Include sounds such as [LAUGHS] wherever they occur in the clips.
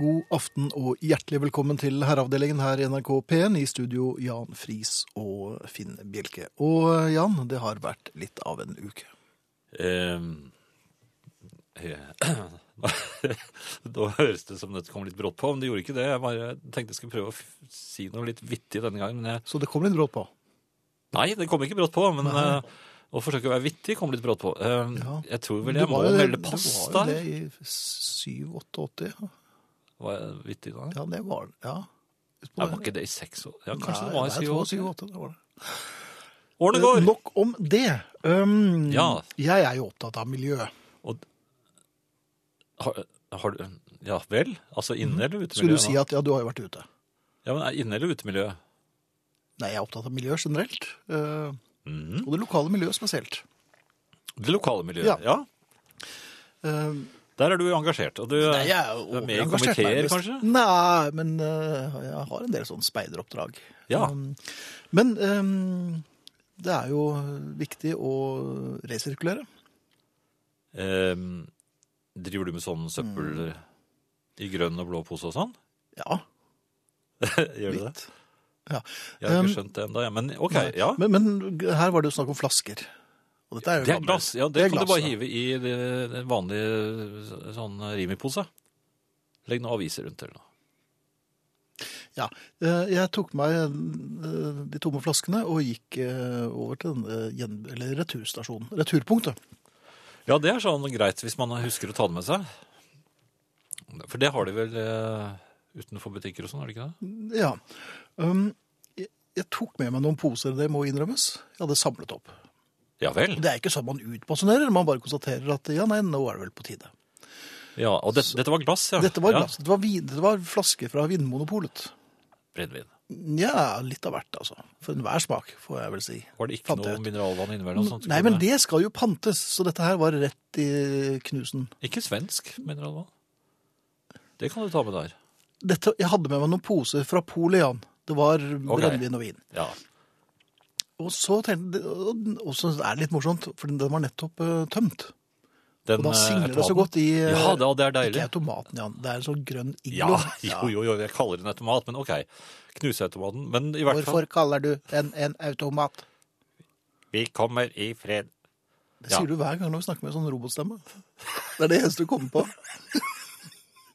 god aften og hjertelig velkommen til Herreavdelingen her i NRK P1 i studio Jan Friis og Finn Bjelke. Og Jan, det har vært litt av en uke. Ehm, eh, [CLEARS THROAT] Da høres det som dette kom litt brått på, men det gjorde ikke det. Jeg bare tenkte jeg skulle prøve å f- si noe litt vittig denne gangen. Men jeg, Så det kom litt brått på. nei, det kom ikke brått på, men eh, å forsøke å være vittig kom litt brått på. Ehm, Ja. Jeg tror vel Det jeg må var jo det- melde pass Det var jo der. det i 7-88. ja. Var jeg vittig da? Ja, det var ja. Nei, var ikke det i seks år? Ja, Nei, kanskje det var nei, i jeg syv tror år. det var 7-8, det var det. Årene går! Nok om det. Um, Ja. Jeg er jo opptatt av miljø. Og, har, har du Ja vel? Altså inne- eller utemiljø? Mhm. Skulle du si at ja, du har jo vært ute? Ja, men er Inne- eller utemiljø? Nei, jeg er opptatt av miljø generelt. eh, Mhm. Og det lokale miljøet spesielt. Det lokale miljøet, Ja. ja. Eh, Der er du engasjert. Og du, nei, jeg er Du jo er med i overengasjert, komiteer, nærmest. kanskje? Nei, men eh, jeg har en del sånn speideroppdrag. Ja. Um, men ehm, det er jo viktig å resirkulere. Ehm, driver du med sånn Mm. søppel i grønn og blå pose og sånn? Ja, [LAUGHS] Gjør du det? litt. Ja. Jeg har Um, ikke skjønt det ennå, men OK. Nei, Ja. Men, men her var det jo snakk om flasker. Og dette er jo Det er gammelt. glass. Ja, Det det er kan du glass, bare ja. hive i det- den vanlige sånn Rimi-pose. Legg noen aviser rundt eller noe. Ja, eh, jeg tok meg eh, de tomme flaskene og gikk eh, over til denne gjen- eller returstasjonen, returpunktet. Ja, det er sånn greit hvis man husker å ta det med seg. For det har de vel eh, utenfor butikker og sånn, har de ikke det? Ja, um, jeg, jeg tok med meg noen poser, det må innrømmes. Jeg hadde samlet opp. Ja vel. Og Det er ikke sånn man utpassionerer, man bare konstaterer at ja, nei, nå er det vel på tide. Ja, og det, dette var glass, ja. Dette var Ja, glass, dette var, vin, dette var flaske fra Vinmonopolet. Brennevin. Ja, litt av hvert altså. For enhver smak, får jeg vel si. Var det ikke Fant jeg noe ut. mineralvann innimellom? Sånn, Nei, men det skal jo pantes, så dette her var rett i knusen. Ikke svensk mineralvann. Det kan du ta med der. Dette, jeg hadde med meg noen poser fra Polian. Det var brennevin og vin. Ja. Og så, tenkte, og så er det litt morsomt, for den var nettopp eh, tømt. Den, Og da eh, singler det så automaten. godt i eh, Ja, det, det er Ikke deilig. automaten, Jan. Det er en sånn grønn Ja, [LAUGHS] iglo. jo, jo, jo, jeg kaller den automat, men ok. Knuseautomaten. Men i hvert fall Hvorfor kaller du den en automat? Vi kommer i fred. Det Ja. sier du hver gang når vi snakker med sånn robotstemme. Det er det eneste du kommer på.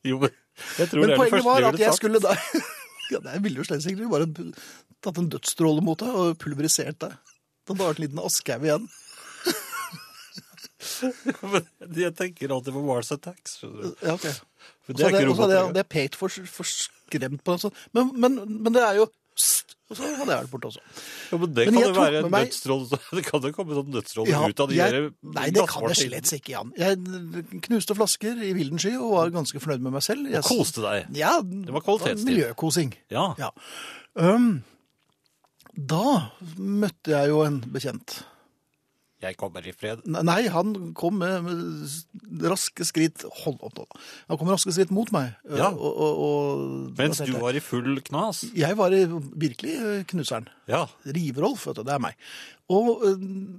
Jo, men jeg Men tror det er det poenget første var du at ville jeg sagt. skulle da [LAUGHS] ja, Jeg ville jo slett sikkert bare bu- tatt en dødsstråle mot deg og pulverisert deg. Det hadde vært en liten askhaug igjen. Men jeg tenker alltid på Mars Attacks. skjønner du. Ja, ok. For Og det så er hadde ikke jeg- og så hadde jeg- roboter. hadde jeg pekt for, for skremt på en sånn. Men, men, men det er jo Psst! Og så hadde jeg vært borte også. Ja, men det Men kan jeg jo tok være med en meg- dødsstråle. så- Det kan jo komme sånn dødsstråle Ja, ut av de jeg- der nei, det kan jeg glassvarene slett ikke, Jan. Jeg knuste flasker i vilden sky og var ganske fornøyd med meg selv. Jeg, inni. Koste deg. Ja, var kvalitetstid. Miljøkosing. Ja. [LAUGHS] Ja. Um, da møtte jeg jo en bekjent. Jeg kommer i fred. Nei, han kom med, med raske skritt Hold opp nå. Han kom med raske skritt mot meg. Ja. Og, og, og, Mens da tenkte du jeg- var i full knas. Jeg var i- virkelig eh, knuseren. Ja. Riverolf, vet du, det er meg. Og eh,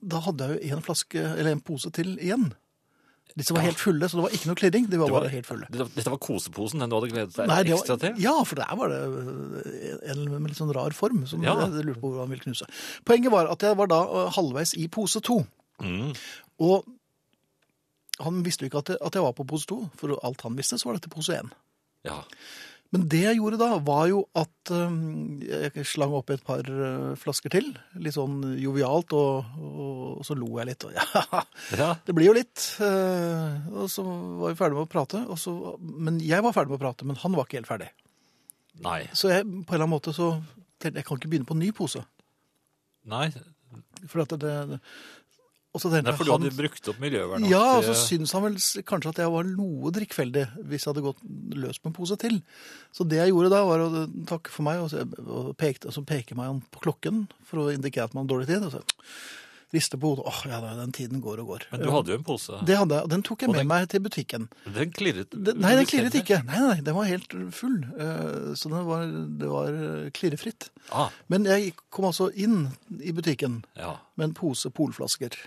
da hadde jeg jo en flaske, eller en pose til igjen. Disse var helt fulle, så det var ikke noe klirring. De var, Det var- bare helt fulle. Dette dette var koseposen, den du hadde gledet deg Nei, det ekstra var, til? ja, for der var det eh, en med litt sånn rar form som Ja. jeg lurte på hvordan han ville knuse. Poenget var at jeg var da eh, halvveis i pose to. Mm. Og han visste jo ikke at jeg, at jeg var på pose to, for alt han visste, så var dette pose én. Ja. Men det jeg gjorde da, var jo at øhm, jeg slang opp et par øh, flasker til. Litt sånn jovialt, og, og, og så lo jeg litt. Og [LAUGHS] ja, ja. det blir jo litt. øh, og så var vi ferdig med å prate. Og så, men jeg var ferdig med å prate, men han var ikke helt ferdig. Nei. Så jeg, på en eller annen måte så tenkte jeg jeg kan ikke begynne på en ny pose. Nei. For at det, det og så tenkte Nei, jeg for du hadde han brukt opp miljøvernet. Ja, altså, og så syns han vel s- kanskje at jeg var noe drikkfeldig hvis jeg hadde gått løs på en pose til. Så det jeg gjorde da, var å takke for meg, og så, og pekte, og så peker meg han på klokken for å indikere at man har dårlig tid. Og så rister på hodet. Åh, ja, da, den tiden går og går. Men du hadde jo en pose. Det hadde jeg, og den tok jeg Og med den- meg til butikken. Den klirret. Det, nei, den klirret ikke. Nei, nei, den var helt full. eh, Så den var, det var eh, klirrefritt. Ah, Men jeg kom altså inn i butikken ja. med en pose polflasker.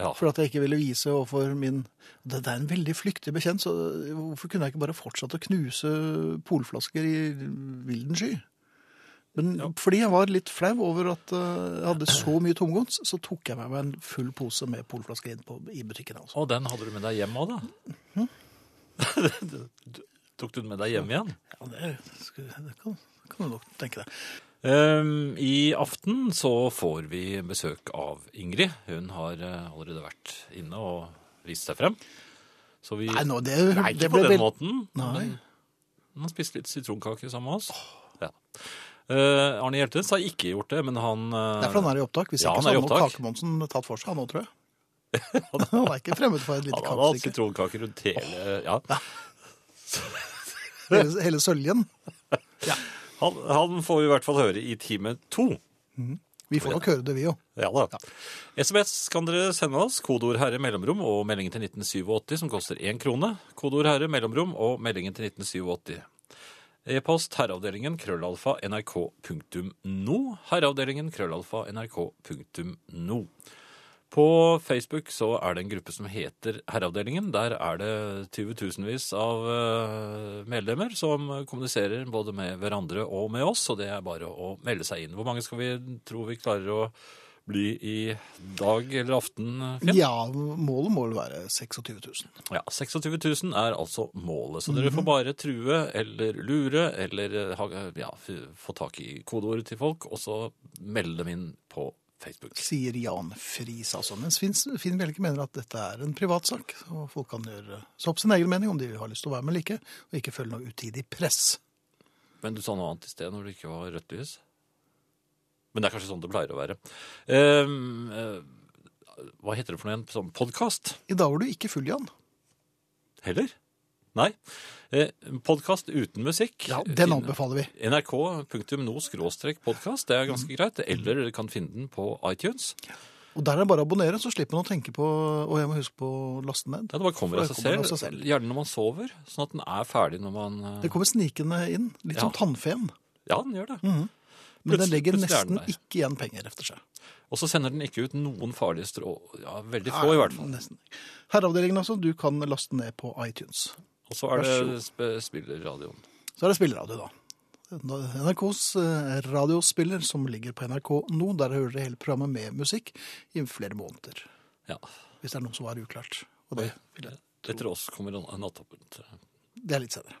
Ja. For at jeg ikke ville vise overfor min Det det er en veldig flyktig bekjent, så hvorfor kunne jeg ikke bare fortsatt å knuse polflasker i vilden sky? Men fordi jeg var litt flau over at eh, jeg hadde så mye tomgods, så tok jeg med meg en full pose med polflasker inn på, i butikken. Altså. Og den hadde du med deg hjem òg, da? [LAUGHS] Du- Tok du den med deg hjem igjen? Ja, det, skal, det kan, kan du nok tenke deg. Ehm, I aften så får vi besøk av Ingrid. Hun har eh, allerede vært inne og vist seg frem. Så vi Nei, nå, det, Nei, det ikke på ble den vel- måten. Nei. Men han har spist litt sitronkake sammen med oss. Ja. Eh, Arne Hjeltnes har ikke gjort det, men han eh, Det er for han er i opptak. Hvis Ja, ikke så han er i hadde nok opptak. Kakemonsen tatt for seg han nå, tror jeg. [LAUGHS] han er ikke fremmed for et lite han hadde hatt kakestykke. sitronkake rundt hele ja. Hele, hele søljen. han, han får vi i hvert fall høre i time to. Vi får nok høre det, vi jo. Ja da. SMS kan dere sende oss. Kodeord 'herre mellomrom' og meldingen til 1987 som koster én krone. Kodeord 'herre mellomrom' og meldingen til 1987. E-post herreavdelingen krøllalfa nrk.no. Herreavdelingen krøllalfa nrk.no. På Facebook så er det en gruppe som heter Herreavdelingen. Der er det tyvetusenvis av eh, medlemmer som kommuniserer både med hverandre og med oss, og det er bare å melde seg inn. Hvor mange skal vi tro vi klarer å bli i dag eller aften, Finn? Ja, målet må vel være 26 000. Ja, 26 000 er altså målet, så dere får bare true eller lure eller eh, ha- ja, f- få tak i kodeordet til folk, og så melde dem inn på Facebook. Sier Jan Friis, altså. Mens Finn, Finn Bjelke mener at dette er en privatsak, og folk kan gjøre så opp sin egen mening om de har lyst til å være med eller ikke, og ikke følge noe utidig press. Men du sa noe annet i sted når det ikke var rødt lys. Men det er kanskje sånn det pleier å være. Ehm, eh, hva heter det for noe igjen? Sånn podkast? I dag var du ikke full, Jan. Heller? Nei. Eh, podkast uten musikk. Den anbefaler vi. NRK.no skråstrek podkast. Det er ganske greit. Eller dere kan finne den på iTunes. Og der er det bare å abonnere, så slipper man å tenke på Og jeg må huske på å laste den ned. Ja, det bare kommer av seg Det kommer av selv. seg selv. Gjerne når man sover. Sånn at den er ferdig når man eh, Det kommer snikende inn, litt Ja. som tannfeen. Ja, den gjør det. Mm. Men den Plutselig- legger plutselig er nesten den der. ikke igjen penger efter seg. Og så sender den ikke ut noen farlige strå... Ja, veldig få, i hvert fall. Nesten. Herreavdelingen altså, du kan laste ned på iTunes. Og så er Vær det sp- spillerradioen. Så er det spilleradio, da. NRKs eh, radiospiller som ligger på NRK nå. Der hører dere hele programmet med musikk i flere måneder. Ja. Hvis det er noe som var uklart. Og det, vil jeg- Etter oss kommer en nattåpent. det er litt senere.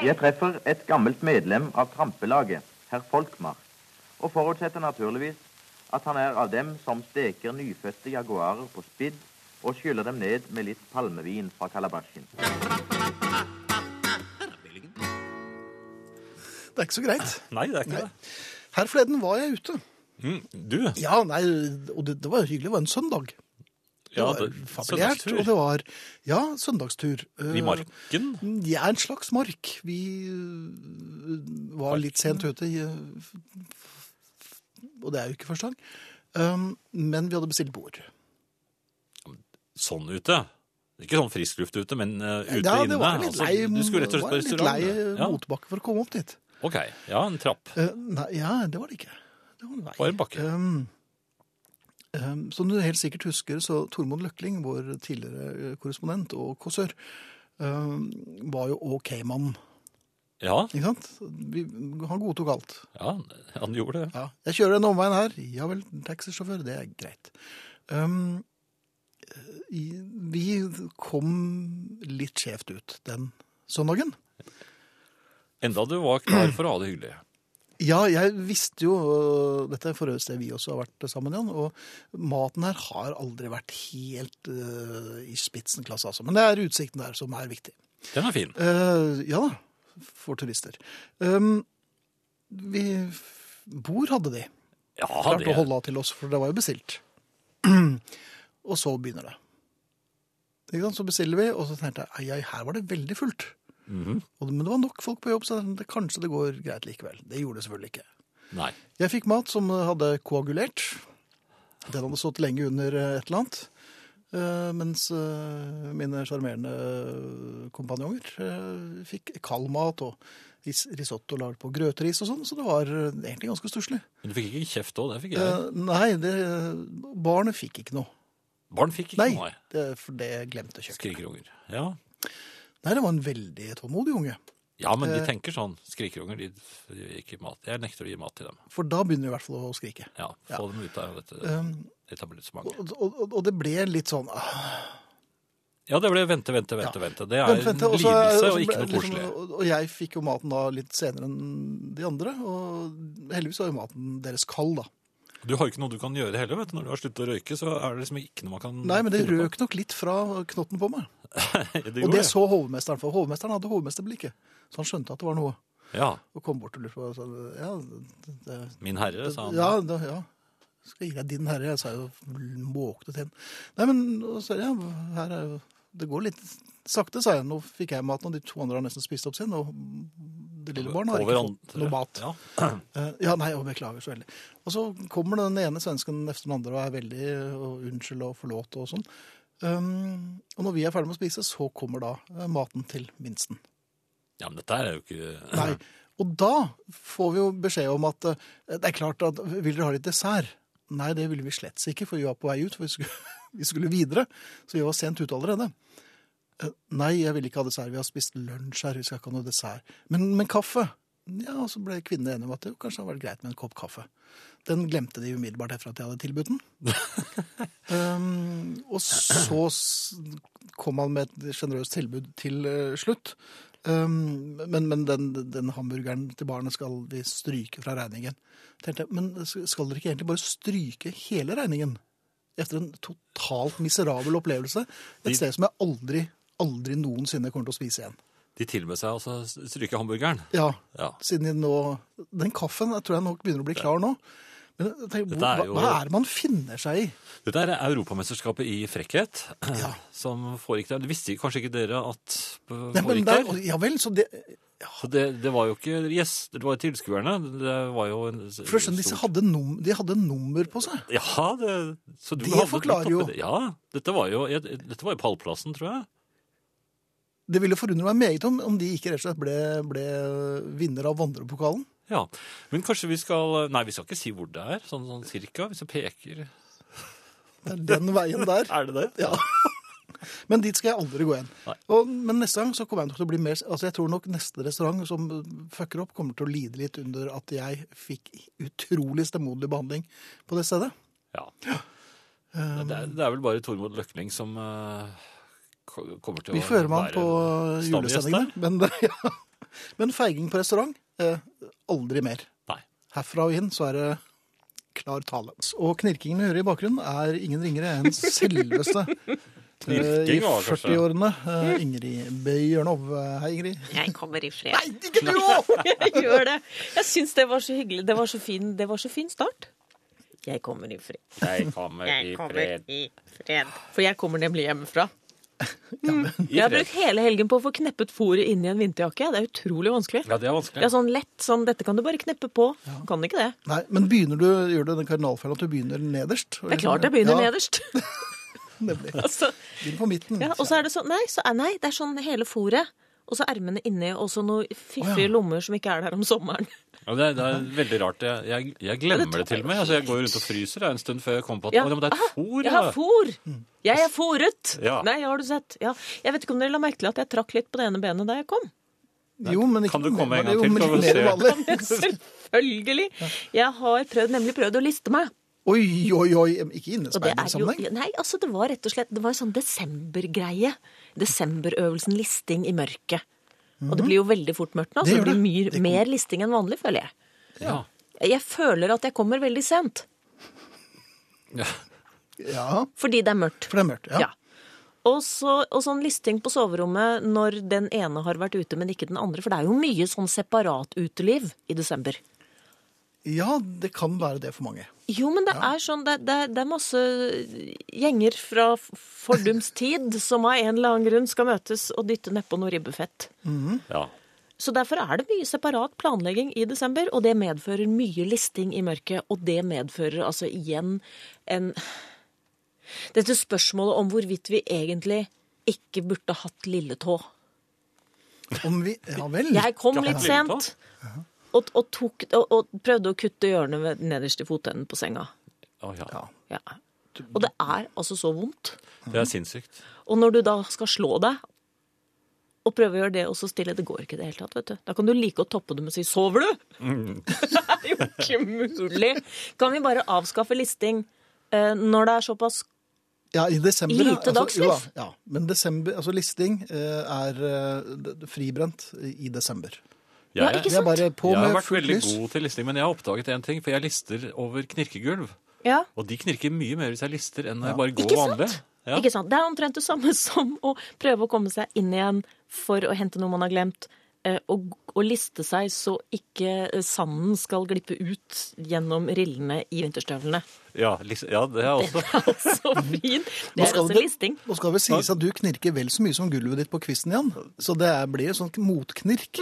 Jeg treffer et gammelt medlem av trampelaget, herr Folkmar, og forutsetter naturligvis at han er av dem som steker nyfødte jaguarer på spidd og skyller dem ned med litt palmevin fra kalabasjen. Det er ikke så greit. Nei, det er ikke Her forleden var jeg ute. det. Mm, du, Ja, nei, og det, det var hyggelig. Det var en søndag. Det ja, var det, fabulært. søndagstur. Og det var ja, søndagstur. Eh, i marken. Ja, Mm, en slags mark. Vi øh, var litt sent ute, i, øh, f- f- og det er jo ikke første gang. Um, men vi hadde bestilt bord. Sånn ute. Ikke sånn frisk luft ute, men eh, ute ja, inne. det var litt Altså, lei, du skulle rett og slett på det restaurant. var litt lei eh, øh, du. ja. motbakke for å komme opp dit. Ok, ja, en trapp. Eh, nei, ja, det var det ikke. Det var en vei. Bare en bakke. Um, um, som du helt sikkert husker, så Tormod Løkling, vår tidligere øh, korrespondent og kåsør, um, var jo OK-mann. Ja, Ikke sant? Vi, han godtok alt. ja, han gjorde det. Ja, jeg kjører denne omveien her. Ja vel, taxisjåfør, det er greit. Um, i- vi kom litt skjevt ut den søndagen. Enda du var klar for å ha det hyggelig. Ja, jeg visste jo øh, Dette er for øvrig sted vi også har vært sammen, Jan. Og maten her har aldri vært helt øh, i spitsenklasse, altså. Men det er utsikten der som er viktig. Den er fin. Eh, ja da, for turister. Um, vi Bord hadde de. Ja, klarte det, å holde av til oss, for det var jo bestilt. [CLEARS THROAT] og så begynner det. Ikke sant? Så bestiller vi, og så tenkte jeg ai, ai, her var det veldig fullt. og, men det var nok folk på jobb, så jeg tenkte, kanskje det går greit likevel. Det gjorde det selvfølgelig ikke. nei. Jeg fikk mat som hadde koagulert. Den hadde stått lenge under eh, et eller annet. Eh, mens eh, mine sjarmerende kompanjonger eh, fikk kald mat og ris risotto lagd på grøteris og sånn, så det var eh, egentlig ganske stusslig. Men du fikk ikke kjeft òg, det fikk jeg. Eh, nei, det, barnet fikk ikke noe. Barn fikk ikke Nei, noe, nei. det, for det glemte kjøkkenet. Skrikerunger. Ja. Nei, det var en veldig tålmodig unge. ja, men de Eh. tenker sånn. Skrikerunger, de, de gir ikke mat. Jeg nekter å gi mat til dem. For da begynner vi i hvert fall å skrike. Ja, Få dem ut av dette Um, etablissementet. og, og, og det ble litt sånn ah, Ja, det ble vente, vente, vente. vente. Det er vent, vent, en og så- lidelse og så ble- ikke noe liksom, koselig. og, og jeg fikk jo maten da litt senere enn de andre, og heldigvis var jo maten deres kald, da. Du har jo ikke noe du kan gjøre heller. vet du. Når du har sluttet å røyke, så er det liksom ikke noe man kan Nei, men det finne [LAUGHS] på. røk nok litt fra knotten på meg. det Og gjorde det det. så hovedmesteren, for hovedmesteren hadde hovedmesterblikket. Så han skjønte at det var noe, Ja. og kom bort og lurte på og sa, ja, det, det, Min herre, sa han. ja, det, ja. Skal jeg gi deg din herre, jeg sa jo måkte til henne. Nei, men og så, ja, her er jo Det går litt sakte, sa jeg. Nå fikk jeg maten, og de to andre har nesten spist opp sin. Og det lille barnet har ikke fått hverandre. noe mat. Ja. Eh, Ja, nei, og beklager så veldig. Og så kommer den ene svensken efter den andre og er veldig eh, og unnskyld og forlåt og sånn. Um, og når vi er ferdig med å spise, så kommer da eh, maten til minsten. ja, men dette er jo ikke Nei. Og da får vi jo beskjed om at eh, det er klart at vil dere ha litt dessert? Nei, det ville vi slett ikke, for vi var på vei ut, for vi skulle, [LAUGHS] vi skulle videre. Så vi var sent ute allerede. Eh, Nei, jeg vil ikke ha dessert. Vi har spist lunsj her, vi skal ikke ha noe dessert. Men, men kaffe? Ja, og så ble kvinnene enige om at det jo kanskje hadde vært greit med en kopp kaffe. Den glemte de umiddelbart etter at jeg hadde tilbudt den. um, og så s- kom han med et sjenerøst tilbud til eh, slutt. Um, men men den, den hamburgeren til barnet skal vi stryke fra regningen. Tenkte, jeg, men skal dere ikke egentlig bare stryke hele regningen? Etter en totalt miserabel opplevelse. Et De- sted som jeg aldri, aldri noensinne kommer til å spise igjen. De tilbød seg altså å stryke hamburgeren. Ja, Ja. siden jeg nå... Den kaffen jeg tror jeg nok begynner å bli klar nå. Men jeg tenker, Dette hvor, er jo- hva, hva er det man finner seg i? Dette er Europamesterskapet i frekkhet Ja. [CLEARS THROAT] som foregikk der. Det visste kanskje ikke dere at Nei, men foregikk der, der? ja vel, så det... Så det, det var jo ikke gjester, det var jo tilskuerne. Det var jo en For jeg skjønner, disse hadde, num, de hadde nummer på seg. Ja, det, så du Det havnet litt forklarer jo. oppi det. Ja, dette var jo, jeg, dette var jo pallplassen, tror jeg. Det ville forundre meg meget om, om de ikke rett og slett ble, ble vinner av vandrepokalen. Ja, Men kanskje vi skal Nei, vi skal ikke si hvor det er, sånn, sånn cirka, hvis jeg peker. Det er den [LAUGHS] veien der. Er det det? Ja. [LAUGHS] Men dit skal jeg aldri gå igjen. Nei. Og, men neste gang så kommer jeg nok til å bli mer Altså jeg tror nok neste restaurant som fucker opp, kommer til å lide litt under at jeg fikk utrolig stemoderlig behandling på det stedet. Ja. Det, er, det er vel bare Tormod Løkning som eh, ko- kommer til Vi å fører med han være på stamgjest der. julesendingene. Men, [LAUGHS] ja. men feiging på restaurant eh, aldri mer. Nei. Herfra og inn så er det klar tale. Og knirkingen vi hører i bakgrunnen, er ingen ringere enn selveste eh, i Knirking var det kanskje. 40-årene. Eh, Ingrid Bjørnov. Hei, Ingrid. Jeg kommer i fred. Nei, ikke du òg! [LAUGHS] Jeg gjør det. Jeg syns det var så hyggelig. Det var så fin, det var så fin start. Jeg kommer i fred. Jeg kommer i fred. i fred. For jeg kommer nemlig hjemmefra. Mm. I Jeg har fred. brukt hele helgen på å få kneppet fôret inni en vinterjakke. Det er utrolig vanskelig. Ja, det er vanskelig. Det er sånn lett sånn Dette kan du bare kneppe på. Kan ikke det. Nei, men begynner du, gjør du den kardinalfellen at du begynner nederst? Det er klart sånn, jeg begynner ja, nederst. [LAUGHS] Nemlig. Altså, Begynn på midten. ja, og så er det sånn Nei, så er, nei det er sånn hele fôret. Og så ermene inni, og så noen Å, ja. fiffige lommer som ikke er der om sommeren. Ja, det, er, det er veldig rart. Jeg, jeg, jeg glemmer det til og med. Altså, jeg går rundt og fryser jeg, en stund før jeg kommer på at Ja. Å, ja, men det er Ah, et fôr. Jeg har ja. fôr! Mm. Jeg er fôret! Ja. Nei, har du sett? Ja. Jeg vet ikke om dere la merke til at jeg trakk litt på det ene benet da jeg kom. jo, men ikke Kan du noe komme mer, en det er gang jo til, mer så vi ser? [LAUGHS] vanlig. Selvfølgelig! Jeg har prøvd, nemlig prøvd å liste meg. Oi, oi, oi. Ikke Og det innesperret er jo, sammenheng. nei, altså det var rett og slett Det var en sånn desembergreie. Desemberøvelsen listing i mørket. Og det blir jo veldig fort mørkt nå, Mhm. Det så det gjør blir det. mye, Det kommer- mer listing enn vanlig, føler jeg. Ja. Jeg føler at jeg kommer veldig sent, Ja, fordi det er mørkt. for det er mørkt. Ja. Ja. Og, så, og sånn listing på soverommet når den ene har vært ute, men ikke den andre. For det er jo mye sånn separat uteliv i desember. ja, det kan være det for mange. Jo, men det er sånn det, det, det er masse gjenger fra f- fordums [LAUGHS] tid som av en eller annen grunn skal møtes og dytte nedpå noe ribbefett. [LAUGHS] ja. Så derfor er det mye separat planlegging i desember, og det medfører mye listing i mørket. Og det medfører altså igjen en Dette spørsmålet om hvorvidt vi egentlig ikke burde hatt lilletå. Om vi Ja vel. Jeg kom Ikke litt hatt lilletå? sent og, og, tok, og, og prøvde å kutte hjørnet ved- nederst i fotenden på senga. Å, ja. Ja. Ja. Og det er altså så vondt. Det er sinnssykt. Og når du da skal slå deg og prøve å gjøre det og så stille, det går ikke i det hele tatt, vet du. Da kan du like å toppe det med å si 'sover du?' [LAUGHS] det er jo ikke mulig. Kan vi bare avskaffe listing eh, når det er såpass Ja, i desember. ja. Lite dagsliv. jo da, ja. Men desember, altså listing eh, er eh, d- fribrent i desember. Ja, Jeg, ikke Det er sant? bare på jeg har med vært fullt veldig lys. god til listing, men jeg har oppdaget en ting, for jeg lister over knirkegulv. Ja. Og de knirker mye mer hvis jeg lister enn når jeg bare går Ikke og sant? handler. Ja. Ikke sant? Det er omtrent det samme [LAUGHS] som å prøve å komme seg inn igjen for å hente noe man har glemt. eh, Og, og liste seg så ikke eh, sanden skal glippe ut gjennom rillene i vinterstøvlene. [LAUGHS] Ja, lis- ja, det er jeg også. Så fint! Det er skal også det- listing. Nå skal det sies at du knirker vel så mye som gulvet ditt på kvisten igjen, så det er- blir sånn motknirk.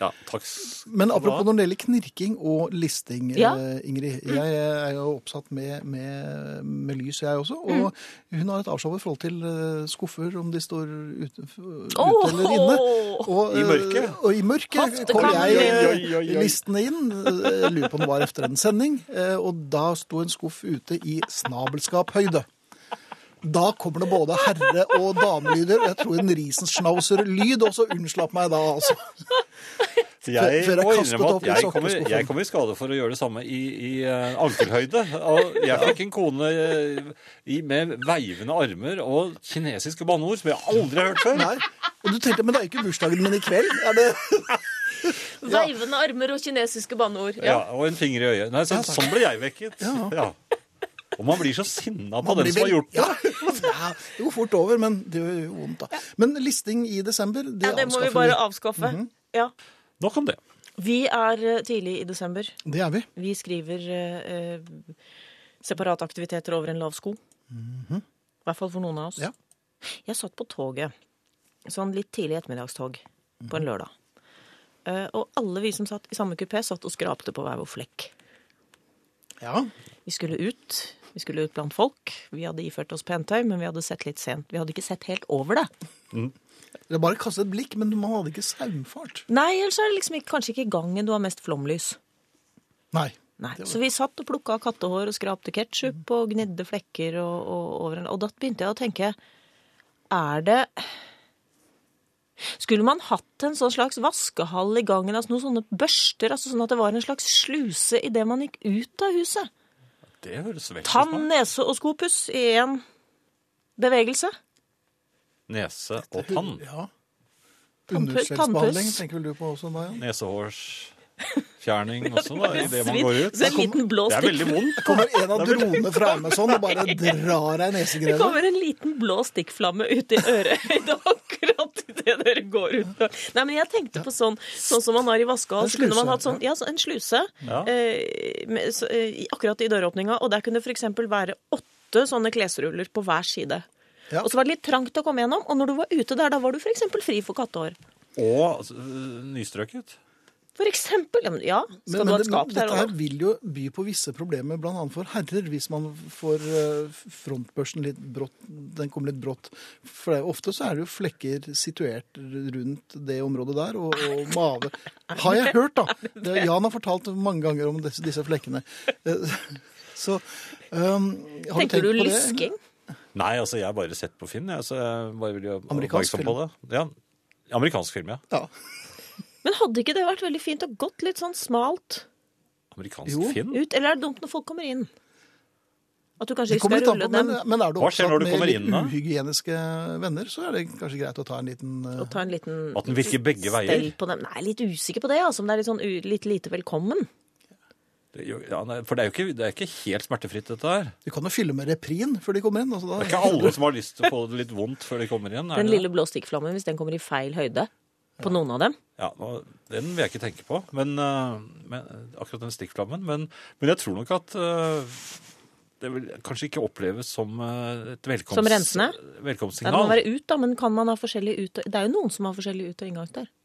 Ja, takk. s- Men apropos når det gjelder knirking og listing, eh, Ja. Mm. Ingrid. Jeg eh, er jo oppsatt med, med, med lys, jeg også. Og Mm. hun har et avslappet forhold til eh, skuffer, om de står ute, f- ute Åh! eller inne. Og, I eh, mørket. Og i mørket Hoftekammer. kom jeg eh, Oi, oi, oi, oi. listene inn. Eh, Jeg lurer på om det var efter en sending. eh, Og da sto en skuff ute i snabelskaphøyde. Da kommer det både herre- og damelyder. Jeg tror en Riesenschnauzer-lyd også unnslapp meg da, altså. Jeg før jeg må kastet innrømme opp i at jeg kommer, sokkeskuffen. jeg kommer i skade for å gjøre det samme i, i eh, ankelhøyde. Og jeg fikk en kone eh, i, med veivende armer og kinesiske banneord som jeg aldri har hørt før. Nei. Og du tenkte, men det er jo ikke bursdagen min i kveld. Er det? Veivende armer og kinesiske banneord. Ja, Ja. og en finger i øyet. Nei, så, Ja, takk. sånn ble jeg vekket. Ja. Og man blir så sinna på den som har gjort det. Ja, ja, det går fort over, men det gjør jo vondt, da. Men listing i desember, det, Mhm. Ja, det må vi avskaffer bare avskaffe. Ja. Nok om det. Vi er eh, tidlig i desember. vi. Det er vi. Vi skriver eh, eh, separate aktiviteter over en lav sko. I hvert fall for noen av oss. Ja. Jeg satt på toget, sånn litt tidlig ettermiddagstog på en lørdag. Eh, og alle vi som satt i samme kupé, satt og skrapte på hver vår flekk. Ja. Vi skulle ut. Vi skulle ut blant folk. Vi hadde iført oss pentøy, men vi hadde sett litt sent. Vi hadde ikke sett helt over det. Det er bare å kaste et blikk, men man hadde ikke saumfart. Nei, ellers er det liksom ikke, kanskje ikke gangen du har mest flomlys. Nei. Nei, Så vi satt og plukka kattehår og skrapte ketsjup Mm. og gnidde flekker og, og over en Og da begynte jeg å tenke Er det Skulle man hatt en sånn slags vaskehall i gangen? Altså noen sånne børster? altså Sånn at det var en slags sluse idet man gikk ut av huset? Det høres veldig Tann, smart nese og skopuss i én bevegelse. Nese og tann. Ja. Tannpuss. Underselsbehandling tenker vel du på også, Maja? Nesehårsfjerning også, da, idet man går ut. Så en liten blå Det er stikk, veldig vondt. Kommer en av dronene fra Amazon og bare drar ei [LAUGHS] det nesegreve? kommer en liten blå stikkflamme ut i ørehøyde akkurat idet dere går ut. Nei, men jeg tenkte på sånn, sånn som man har i vaskehall. En Så kunne man sluse, hatt sånn, ja, så en sluse Ja. eh, med, så, eh, i- akkurat i døråpninga, og der kunne f.eks. være åtte sånne klesruller på hver side. Ja. Og så var det litt trangt å komme gjennom, og når du var ute der, da var du f.eks. fri for kattehår. Og altså, øh, nystrøket. For eksempel, ja, men- ja, Men, skal du ha men et det, skap der dette her òg? vil jo by på visse problemer, bl.a. for herrer, hvis man får eh, frontbørsen litt brått. Den kommer litt brått. For det er jo ofte så er det jo flekker situert rundt det området der, og, og mage Har jeg hørt, da! Det, Jan har fortalt mange ganger om disse, disse flekkene. Eh, Så um, har Tenker du tenkt på du det? lysking? Nei, altså, jeg har bare sett på Finn. Jeg, så jeg bare vil gjøre Amerikansk oppmerksom på det. Ja, amerikansk film, ja. Ja. Men hadde ikke det vært veldig fint og gått litt sånn smalt Amerikansk Jo. Finn? ut? Eller er det dumt når folk kommer inn? At du kanskje Det ikke kommer skal litt an rulle på, dem men, men er du Hva skjer når opptatt du med kommer litt inn, da? uhygieniske venner, så er det kanskje greit å ta en liten eh, og ta en liten At den virker begge veier? stell på dem? Nei, jeg er litt usikker på det, altså. Om det er litt sånn u litt lite velkommen. Det, gjør- ja, nei, for det er jo ikke, det er ikke helt smertefritt, dette her. Du kan jo fylle med Reprin før de kommer inn. Altså, Det da, er ikke alle som har lyst til å få det litt vondt før de kommer igjen. Er Den det? lille blå stikkflammen, hvis den kommer i feil høyde på noen av dem. Ja, nå- Den vil jeg ikke tenke på, men, øh, men, akkurat den stikkflammen. Men, men jeg tror nok at øh, det vil kanskje ikke oppleves som øh, et velkomst, Som rensende? Nei, det må velkomstsignal. være ut, da, men kan man ha forskjellig ut og Det er jo noen som har forskjellig ut- og inngangsdør.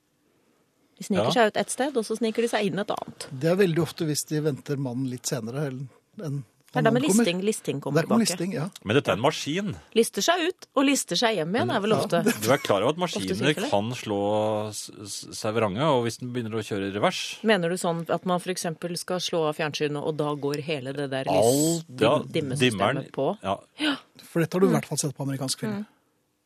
De sniker Ja. seg ut ett sted, og så sniker de seg inn et annet. Det er veldig ofte hvis de venter mannen litt senere enn Det er Men der med den kommer. listing, listing kommer Der kom tilbake. listing, ja. Men dette er en maskin. Lister seg ut, og lister seg hjem Mm. igjen, er vel [LAUGHS] ofte. Du er klar over at Ofte maskiner tilfelle. kan slå s- s- seg vrange, og hvis den begynner å kjøre i revers Mener du sånn at man f.eks. skal slå av fjernsynet, og da går hele det der all- ja, lysdimmesystemet på? Ja, For dette har Mm. du i hvert fall sett på amerikansk film.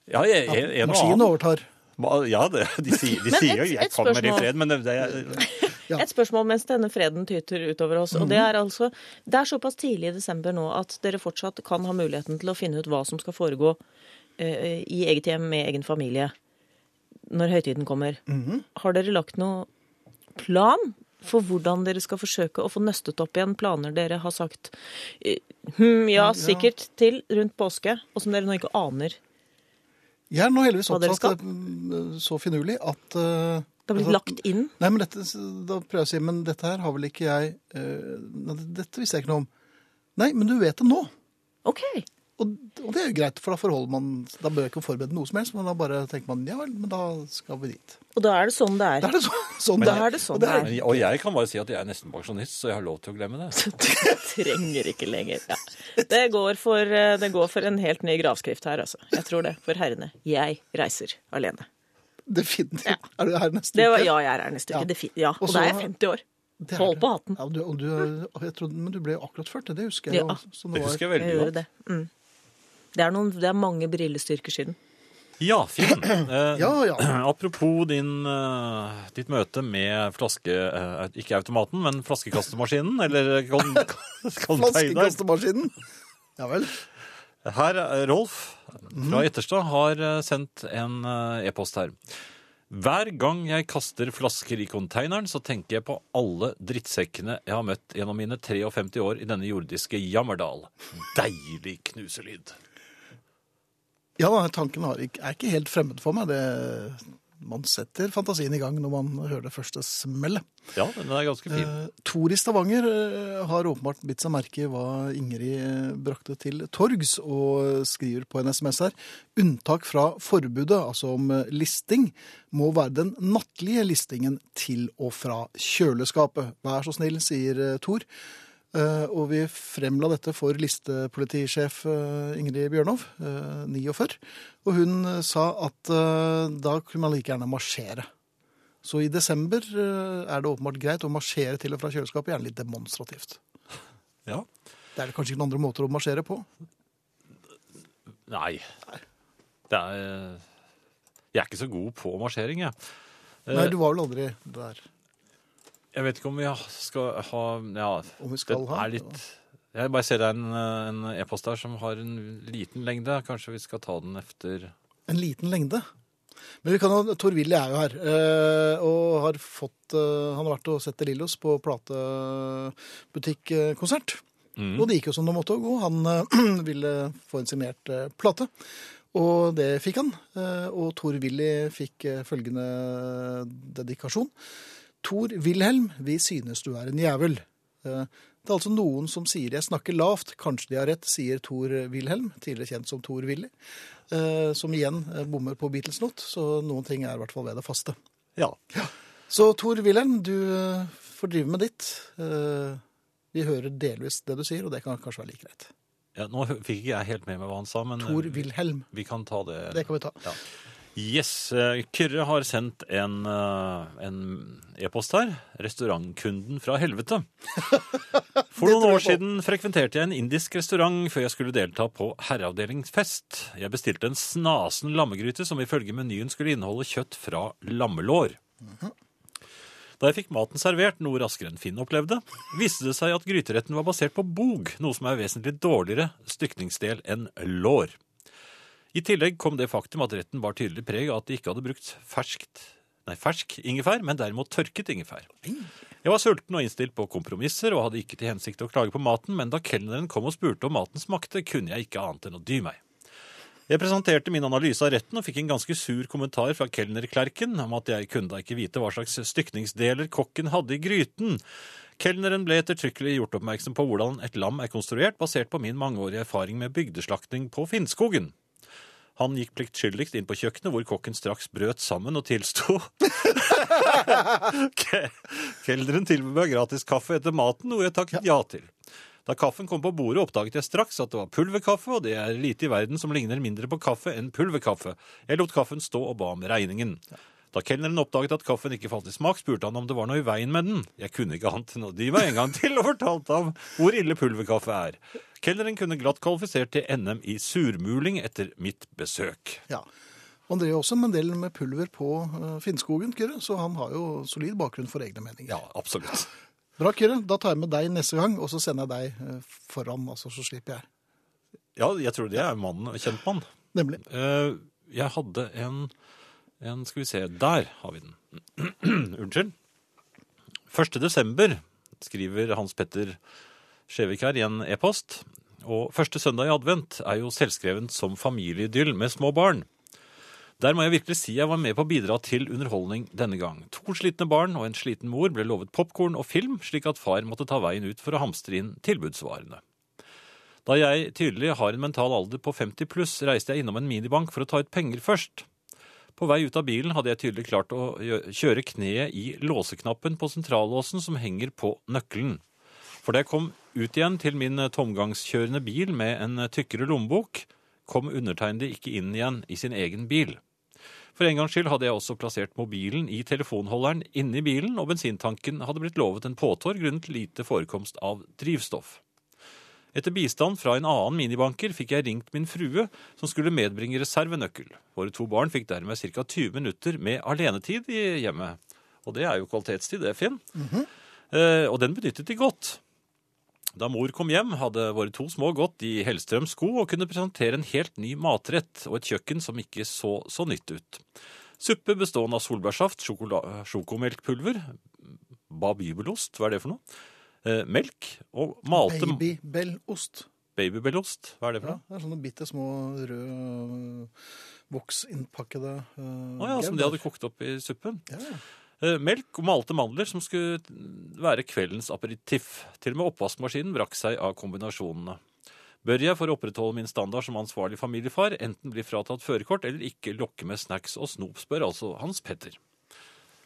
ja jeg, jeg, en og Maskinen annen. overtar. Ma- Ja, det, de sier, de [LAUGHS] Men sier jo et- 'jeg et kommer i spørsmål. fred', men det, det, Ja. Et spørsmål mens denne freden tyter utover oss. og Det er altså, det er såpass tidlig i desember nå at dere fortsatt kan ha muligheten til å finne ut hva som skal foregå eh, i eget hjem med egen familie når høytiden kommer. Har dere lagt noe plan for hvordan dere skal forsøke å få nøstet opp igjen planer dere har sagt eh, hm, ja, sikkert til rundt påske, og som dere nå ikke aner? Jeg er nå heldigvis Hva dere skal? opptatt mm, så finurlig at eh, Det har blitt altså- lagt inn. Nei, men dette, da prøver jeg å si, men dette her har vel ikke jeg eh, nei, Dette visste jeg ikke noe om. Nei, men du vet det nå. OK. Og, og det er jo greit, for da forholder man Da bør jeg ikke forberede noe som helst, men da bare tenker man ja vel, men da skal vi dit. Og da er det sånn det er. [LAUGHS] Da er det så, sånn Da er det Og sånn det det er. men, Og jeg kan bare si at jeg er nesten pensjonist, så jeg har lov til å glemme det. Så du trenger ikke lenger. Ja. Det, går for, eh, det går for en helt ny gravskrift her, altså. Jeg tror det. For herrene. Jeg reiser alene. Definitivt. Er du her neste Det var, uke? ja, jeg er her neste Ja. uke. Det fin- Ja. Og Og så- da er jeg 50 år. Det er Hold det. på hatten. Ja, du, og du, er- jeg trodde, men du ble jo akkurat 40, det husker jeg Ja. jo. så Det var- husker jeg Jeg veldig gjorde godt. det. Mm. Det er, noen, det er mange brillestyrker siden. Ja, [CLEARS THROAT] Finn. Eh, Ja, ja. [CLEARS THROAT] Apropos din, eh, ditt møte med flaske... Eh, ikke automaten, men flaskekastemaskinen, eller kon- [LAUGHS] containeren. Flaskekastemaskinen. Ja vel. Her, eh, Rolf fra Etterstad har eh, sendt en eh, e-post her. Hver gang jeg kaster flasker i konteineren, så tenker jeg på alle drittsekkene jeg har møtt gjennom mine 53 år i denne jordiske Jammerdal. Deilig knuselyd. Ja, da, tanken har, ikke- er ikke helt fremmed for meg. Det, man setter fantasien i gang når man hører det første smellet. Ja, den er ganske fin. Eh, Tor i Stavanger eh, har åpenbart bitt seg merke i hva Ingrid eh, brakte til torgs, og eh, skriver på en SMS her unntak fra forbudet, altså om eh, listing, må være den nattlige listingen til og fra kjøleskapet. Vær så snill, sier eh, Tor. Eh, Og vi fremla dette for listepolitisjef eh, Ingrid Bjørnov, eh, 49, og hun eh, sa at eh, da kunne man like gjerne marsjere. Så i desember eh, er det åpenbart greit å marsjere til og fra kjøleskapet, gjerne litt demonstrativt. Ja. Det er det kanskje ikke noen andre måter å marsjere på. Nei. Det er eh, Jeg er ikke så god på marsjering, jeg. Eh, Nei, du var vel aldri der. Jeg vet ikke om vi ha- skal ha Ja, Om vi skal det ha, er litt Jeg bare ser det er en, eh, en e-post der som har en liten lengde. Kanskje vi skal ta den efter En liten lengde. Men vi kan ha, Tor-Willy er jo her, eh, og har fått, eh, han har vært og sett De Lillos på platebutikkonsert. Og det gikk jo som det måtte gå. Han eh, [CLEARS THROAT] ville få en signert eh, plate, og det fikk han. Eh, og Tor-Willy fikk eh, følgende dedikasjon. Tor Wilhelm, vi synes du er en jævel. Eh, Det er altså noen som sier jeg snakker lavt, kanskje de har rett, sier Tor Wilhelm, tidligere kjent som Tor Willy, eh, som igjen eh, bommer på Beatles not, så noen ting er i hvert fall ved det faste. Ja. Så Tor Wilhelm, du eh, får drive med ditt. Eh, Vi hører delvis det du sier, og det kan kanskje være like greit. Nå hø- fikk ikke jeg helt med meg hva han sa, men Tor eh, vi, Wilhelm, vi kan ta det. det kan vi ta. Yes. eh, Kyrre har sendt en eh, en e-post her. 'Restaurantkunden fra [LAUGHS] helvete'. For Det noen tror år jeg på. siden frekventerte jeg en indisk restaurant før jeg skulle delta på herreavdelingsfest. Jeg bestilte en snasen lammegryte som ifølge menyen skulle inneholde kjøtt fra lammelår. Mhm. Da jeg fikk maten servert, noe raskere enn Finn opplevde, viste det seg at gryteretten var basert på bog, noe som er vesentlig dårligere stykningsdel enn lår. I tillegg kom det faktum at retten var tydelig preg av at de ikke hadde brukt ferskt, nei, fersk ingefær, men derimot tørket ingefær. Jeg var sulten og innstilt på kompromisser og hadde ikke til hensikt å klage på maten, men da kelneren kom og spurte om maten smakte, kunne jeg ikke annet enn å dy meg. Jeg presenterte min analyse av retten og fikk en ganske sur kommentar fra kelnerklerken om at jeg kunne da ikke vite hva slags stykningsdeler kokken hadde i gryten. Kelneren ble ettertrykkelig gjort oppmerksom på hvordan et lam er konstruert, basert på min mangeårige erfaring med bygdeslakting på Finnskogen. Han gikk pliktskyldigst inn på kjøkkenet, hvor kokken straks brøt sammen og tilsto. Ke- Kelneren tilbød meg gratis kaffe etter maten, noe jeg takket ja til. Da kaffen kom på bordet, oppdaget jeg straks at det var pulverkaffe, og det er lite i verden som ligner mindre på kaffe enn pulverkaffe. Jeg lot kaffen stå og ba om regningen. Da kelneren oppdaget at kaffen ikke falt i smak, spurte han om det var noe i veien med den. Jeg kunne ikke annet enn å dy meg en gang til og fortalte ham hvor ille pulverkaffe er. Kelneren kunne glatt kvalifisert til NM i surmuling etter mitt besøk. Ja. Han drev også med en del med pulver på eh, Finnskogen, Kyrre, så han har jo solid bakgrunn for egne meninger. Ja, absolutt. Bra, Kyrre. Da tar jeg med deg neste gang, og så sender jeg deg eh, foran, altså, så slipper jeg. Ja, jeg tror det er mannen, kjent mann. Nemlig. Eh, jeg hadde en, en Skal vi se, der har vi den. [CLEARS THROAT] Unnskyld. 1. desember skriver Hans Petter Skjevik her i en e-post. Og første søndag i advent er jo selvskreven som familieidyll med små barn. Der må jeg virkelig si jeg var med på å bidra til underholdning denne gang. To slitne barn og en sliten mor ble lovet popkorn og film, slik at far måtte ta veien ut for å hamstre inn tilbudsvarene. Da jeg tydelig har en mental alder på 50 pluss, reiste jeg innom en minibank for å ta ut penger først. På vei ut av bilen hadde jeg tydelig klart å gjø- kjøre kneet i låseknappen på sentrallåsen som henger på nøkkelen. For da jeg kom ut igjen til min eh, tomgangskjørende bil med en eh, tykkere lommebok, kom undertegnede ikke inn igjen i sin egen bil. For en gangs skyld hadde jeg også plassert mobilen i telefonholderen inne i bilen, og bensintanken hadde blitt lovet en påtår grunnet lite forekomst av drivstoff. Etter bistand fra en annen minibanker fikk jeg ringt min frue, som skulle medbringe reservenøkkel. Våre to barn fikk dermed ca. 20 minutter med alenetid i hjemmet. Og det er jo kvalitetstid, det, Finn. eh, og den benyttet de godt. Da mor kom hjem, hadde våre to små gått i Hellstrøms sko og kunne presentere en helt ny matrett og et kjøkken som ikke så så nytt ut. Suppe bestående av solbærsaft, sjokola- sjokomelkpulver, babybelost, hva er det for noe? Eh, melk og malte Babybellost. Babybellost, hva er det for Ja, noe? det er sånne bitte små røde øh, voksinnpakkede øh, Å ja, som de gauder. hadde kokt opp i suppen. Ja, ja. Eh, melk og malte mandler som skulle være kveldens aperitiff. Til og med oppvaskmaskinen brakk seg av kombinasjonene. Bør jeg, for å opprettholde min standard som ansvarlig familiefar, enten bli fratatt førerkort eller ikke lokke med snacks og snop, spør altså Hans Petter.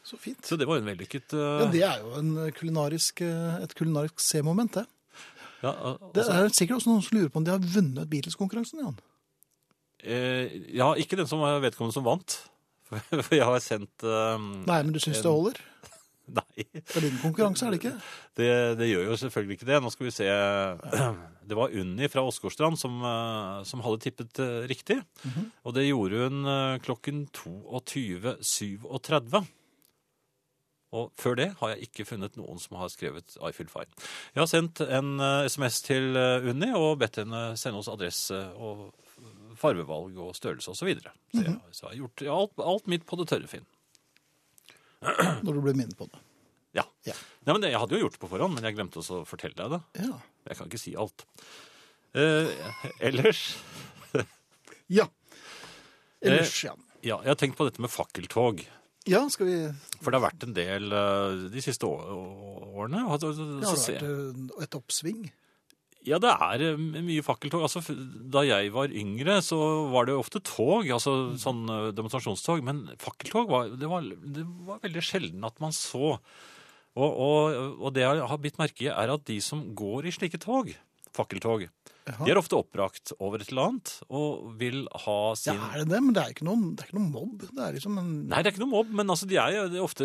Så fint. Så det var jo en vellykket eh, Ja, det er jo en kulinarisk, øh, et kulinarisk C-moment, det. ja, eh, Det altså, er sikkert også noen som lurer på om de har vunnet Beatles-konkurransen, Jan. eh, ja, ikke den som vedkommende som vant. [LAUGHS] For jeg har sendt eh, Nei, men du syns det holder? Nei. Det er din konkurranse, er det ikke? Det, det gjør jo selvfølgelig ikke det. Nå skal vi se. [CLEARS THROAT] Det var Unni fra Åsgårdstrand som, eh, som hadde tippet eh, riktig. Og det gjorde hun eh, klokken 22.37. Og før det har jeg ikke funnet noen som har skrevet I feel fine. Jeg har sendt en eh, SMS til eh, Unni og bedt henne sende oss adresse og farvevalg og størrelse osv. Så, videre. så, jeg, så jeg har gjort alt, alt mitt på det tørre, Finn. Når du blir minnet på det. Ja. Ja. Nei, men det, jeg hadde jo gjort det på forhånd, men jeg glemte også å fortelle deg det. Ja. Jeg kan ikke si alt. Eh, ellers ja. Eh. Ellers, ja. Ja, jeg har tenkt på dette med fakkeltog. Ja, skal vi For det har vært en del eh, de siste å- å- årene. og så- så- Det har så ser vært jeg- øh, et oppsving. Ja, det er eh, mye fakkeltog. Altså, f- da jeg var yngre, så var det ofte tog, Mm. altså sånn eh, demonstrasjonstog. Men fakkeltog var, det var, det var veldig sjelden at man så. Og, og, og det jeg har bitt merke i, er at de som går i slike tog, fakkeltog, de er ofte oppbrakt over et eller annet og vil ha Ja, sin er det det? Men det er ikke noen, det er ikke noen mobb. Det er liksom en Nei, det er ikke noe mobb, men altså, de er jo ofte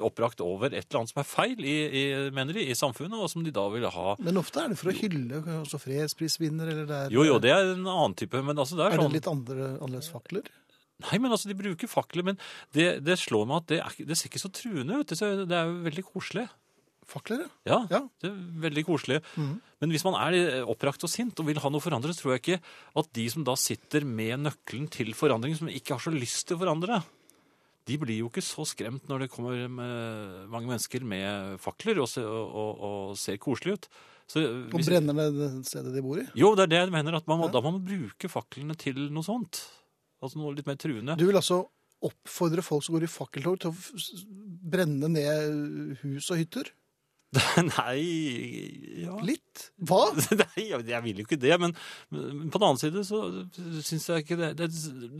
oppbrakt over et eller annet som er feil, i, i, mener de, i samfunnet, og som de da vil ha. Men ofte er det for å hylle også fredsprisvinner, eller det er Jo, jo, det er en annen type, men altså det er, Er det sånn... litt andre, annerledes fakler? Nei, men altså, de bruker fakler, men det, det slår meg at det, er, ikke- det ser ikke så truende ut. Det, ser, det er jo veldig koselig. Fakler, ja. Ja, Ja. Mhm. det er veldig koselig. Men hvis man er opprakt og sint og vil ha noe forandret, tror jeg ikke at de som da sitter med nøkkelen til forandring, som ikke har så lyst til å forandre, de blir jo ikke så skremt når det kommer med mange mennesker med fakler og, se, og, og, og ser koselig ut. Så Og hvis- brenner ned det stedet de bor i? Jo, det er det jeg mener, at man må, da må man bruke faklene til noe sånt. Altså noe litt mer truende. [LAUGHS] Du vil altså oppfordre folk som går i fakkeltog til å f- s- brenne ned hus og hytter? Nei, ja. Litt? Hva? [LAUGHS] Nei, jeg jeg vil jo ikke det, men men på den annen side så syns jeg ikke det Det,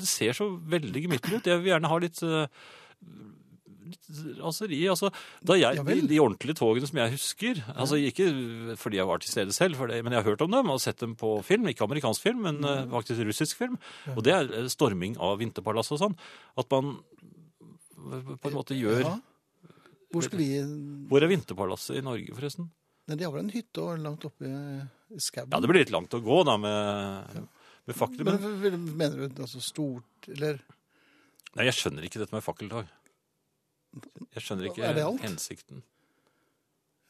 det ser så veldig gemyttlig ut. Jeg vil gjerne ha litt eh, raseri. Altså, da jeg, Ja vel. de, de ordentlige togene som jeg husker altså Ikke fordi jeg var til stede selv, for det, men jeg har hørt om dem og sett dem på film. Ikke amerikansk film, men eh, Mm. faktisk russisk film. Og det er eh, storming av Vinterpalasset og sånn. At man eh, på en måte gjør Ja. Hvor skal vi Hvor er Vinterpalasset i Norge, forresten? Nei, de har vel en hytte og langt oppe i- i skauen? Ja, det blir litt langt å gå da med, med fakkel. Men Men vil- mener du altså stort Eller nei, jeg skjønner ikke dette med fakkeltog. Jeg skjønner ikke Er det alt? hensikten.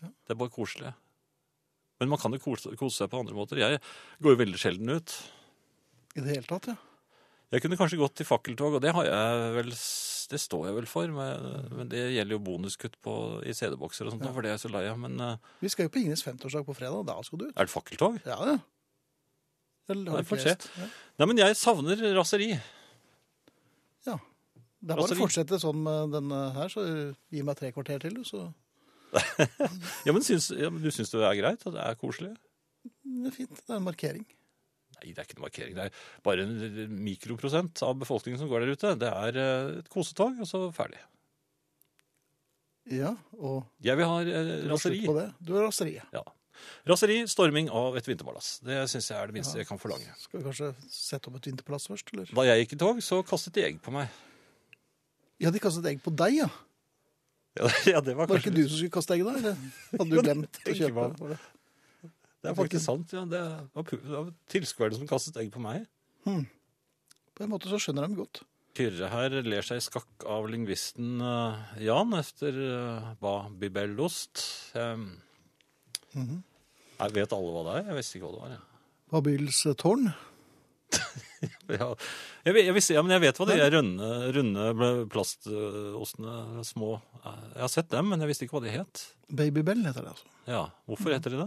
Det er bare koselig. Men man kan jo kose, kose seg på andre måter. Jeg går jo veldig sjelden ut. i det hele tatt, ja? Jeg kunne kanskje gått til fakkeltog, og det, har jeg vel, s- det står jeg vel for. Men, men det gjelder jo bonuskutt på, i CD-bokser og sånt, for det er jeg så lei av. Men eh, Vi skal jo på Ingrids 50-årsdag på fredag. Da skal du ut. er det fakkeltog? Ja, ja. Eller har Nei, du får se. flest? Ja. Nei, men jeg savner raseri. ja. Det er bare Altså, å vi- fortsette sånn med denne her, så gi meg tre kvarter til, du, så Ja, men, syns, ja, men du syns det er greit? At det er koselig? det er fint. Det er en markering. Nei, det er ikke noe markering. Det er bare en mikroprosent av befolkningen som går der ute. Det er eh, et kosetog, og så ferdig. Ja, og Jeg vil ha eh, du har raseri. slutt på det. Du har raseriet. Ja. Raseri, storming av et vinterpalass. Det syns jeg er det minste jeg kan forlange. Skal vi kanskje sette opp et vinterpalass først, eller? Da jeg gikk i tog, så kastet de egg på meg. [LAUGHS] Ja, de kastet egg på deg, ja. Ja, det- ja, det var Var det kanskje ikke du som skulle kaste egg da, eller [LAUGHS] hadde du glemt å tenker kjøpe? meg. var det? Det er faktisk sant. Ja. Det var, pu- det var tilskuerne som kastet egg på meg. På en måte så skjønner de godt. Kyrre her ler seg i skakk av lingvisten eh, Jan efter eh, Ba Bibellost. Um, Mhm. Jeg vet alle hva det er. Jeg visste ikke hva det var. Jeg. Babylens tårn. [LAUGHS] Ja, jeg, vet- jeg, visste, ja, men jeg vet hva det er. Runde, runde plastostene, små. Jeg har sett dem, men jeg visste ikke hva de het. Babybell heter det, altså. Ja, Hvorfor heter de det?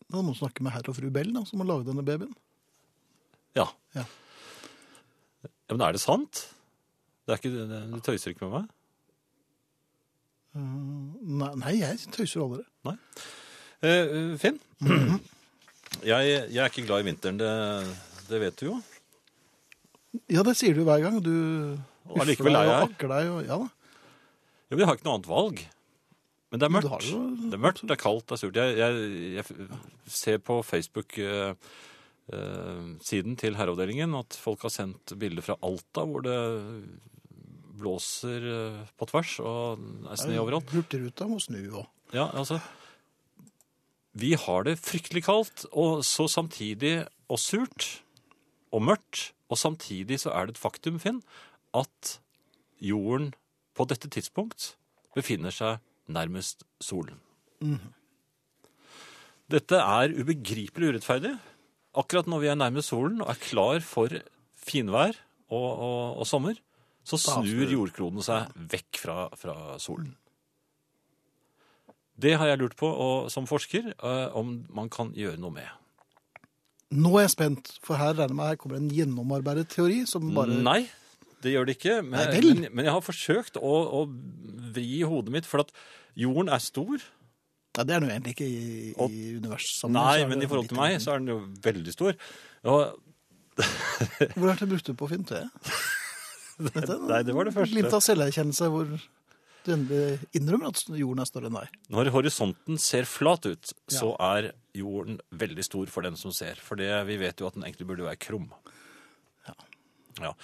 Det er noen som snakker med herr og fru Bell, da, som har laget denne babyen. Ja. Ja. ja men er det sant? Det er ikke, det- du tøyser ikke med meg? Eh, Nei, nei jeg tøyser aldri. Eh, Finn, jeg, jeg er ikke glad i vinteren, det, det vet du jo. Ja, det sier du hver gang. Du Og huffer allikevel deg er jeg og her. akker deg. Og, ja da. Ja, men jeg har ikke noe annet valg. Men det er Men du mørkt. har jo- Det er mørkt, det er kaldt, det er surt. Jeg, jeg, jeg f- ser på Facebook-siden til herreavdelingen at folk har sendt bilder fra Alta, hvor det blåser eh, på tvers og er snø overalt. Hurtigruta må snu og Ja, altså, vi har det fryktelig kaldt, og så samtidig og surt og mørkt, og samtidig så er det et faktum, Finn, at jorden på dette tidspunkt befinner seg nærmest solen. Dette er ubegripelig urettferdig. Akkurat når vi er nærmest solen og er klar for finvær og, og, og sommer, så Da snur snur- jordkloden seg vekk fra, fra solen. Det har jeg lurt på og, som forsker, eh, om man kan gjøre noe med. Nå er jeg spent, for her regner jeg med her kommer en gjennomarbeidet teori som bare Nei, det gjør det ikke. Men, Nei vel. men, men jeg har forsøkt å, å vri hodet mitt, for at jorden er stor. Nei, det er nå egentlig ikke i, i universsammenheng. Nei, men i forhold til meg så er den jo veldig stor. Og, Hvor er det brukt du på å finne det? Dette, [LAUGHS] nei, det var det første. Litt av selverkjennelse hvor du endelig innrømmer at jorden er større enn deg. når horisonten ser flat ut, så er jorden veldig stor for den som ser. For det, vi vet jo at den egentlig burde være krum. Ja.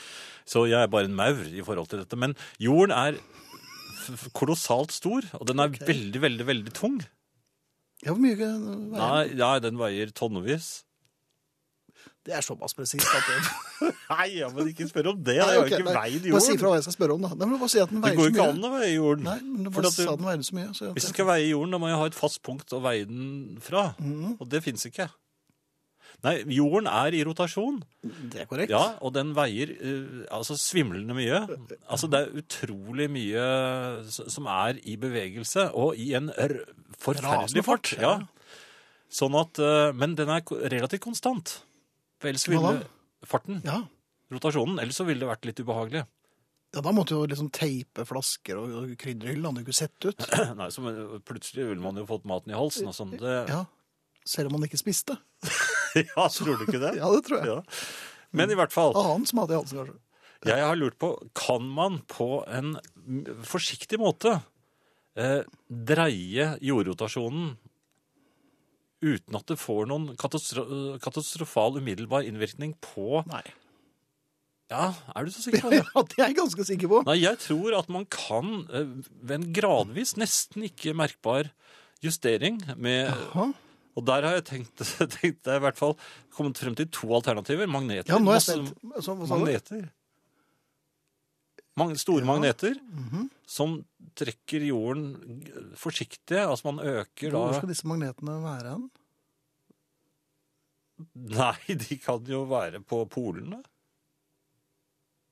Så jeg er bare en maur i forhold til dette. Men jorden er f- f- kolossalt stor, og den er veldig, veldig, veldig tung. Ja, hvor mye veier den? Nei, nei, den veier tonnevis. Det er såpass presist at det Nei, [LAUGHS] ja, men ikke spør om det. Nei, Det er jo ok, ikke nei, veid Bare si jorden. fra hva jeg skal spørre om, da. Nei, men du bare si at den Det veier går jo så ikke mye. an å veie jorden. Nei, men du For bare at du- sa den veide så mye. Så jeg, Hvis du skal veie jorden, da må jeg ha et fast punkt å veie den fra. Mhm. Og det fins ikke. Nei, jorden er i rotasjon, det er korrekt. ja, og den veier eh, altså svimlende mye. Altså det er utrolig mye s- som er i bevegelse, og i en r Rasende forferdelig fart, fart. ja. Ja. Sånn at, eh, Men den er ko- relativt konstant. For Ellers Hva ville da? farten, Ja. rotasjonen, ellers så ville det vært litt ubehagelig. ja, da måtte du jo liksom teipe flasker og, og krydderhyll. Det hadde jo ikke sett [LAUGHS] ut. [CLEARS THROAT] Nei, så men- plutselig ville man jo fått maten i halsen og sånn. Det, Ja. Selv om man ikke spiste. [LAUGHS] ja, tror du ikke det? Ja, Ah. det tror jeg. Ja. Men i hvert fall, Annen smat i halsen, kanskje. Jeg har lurt på, kan man på en forsiktig måte eh, dreie jordrotasjonen uten at det får noen katastro katastrofal umiddelbar innvirkning på Nei. Ja, er du så sikker på det? [LAUGHS] Ja, det er jeg ganske sikker på. Nei, jeg tror at man kan eh, ved en gradvis, nesten ikke merkbar justering med Jaha. Og der har jeg tenkt, [LAUGHS] tenkt jeg i hvert fall kommet frem til to alternativer. Magneter. Ja, nå er jeg masse- spent. Så, hva sa du? Magneter. Mag store magneter Mhm. som trekker jorden g- forsiktig. Altså man øker Hvor da skal disse magnetene være hen? [LAUGHS] Nei, de kan jo være på polene.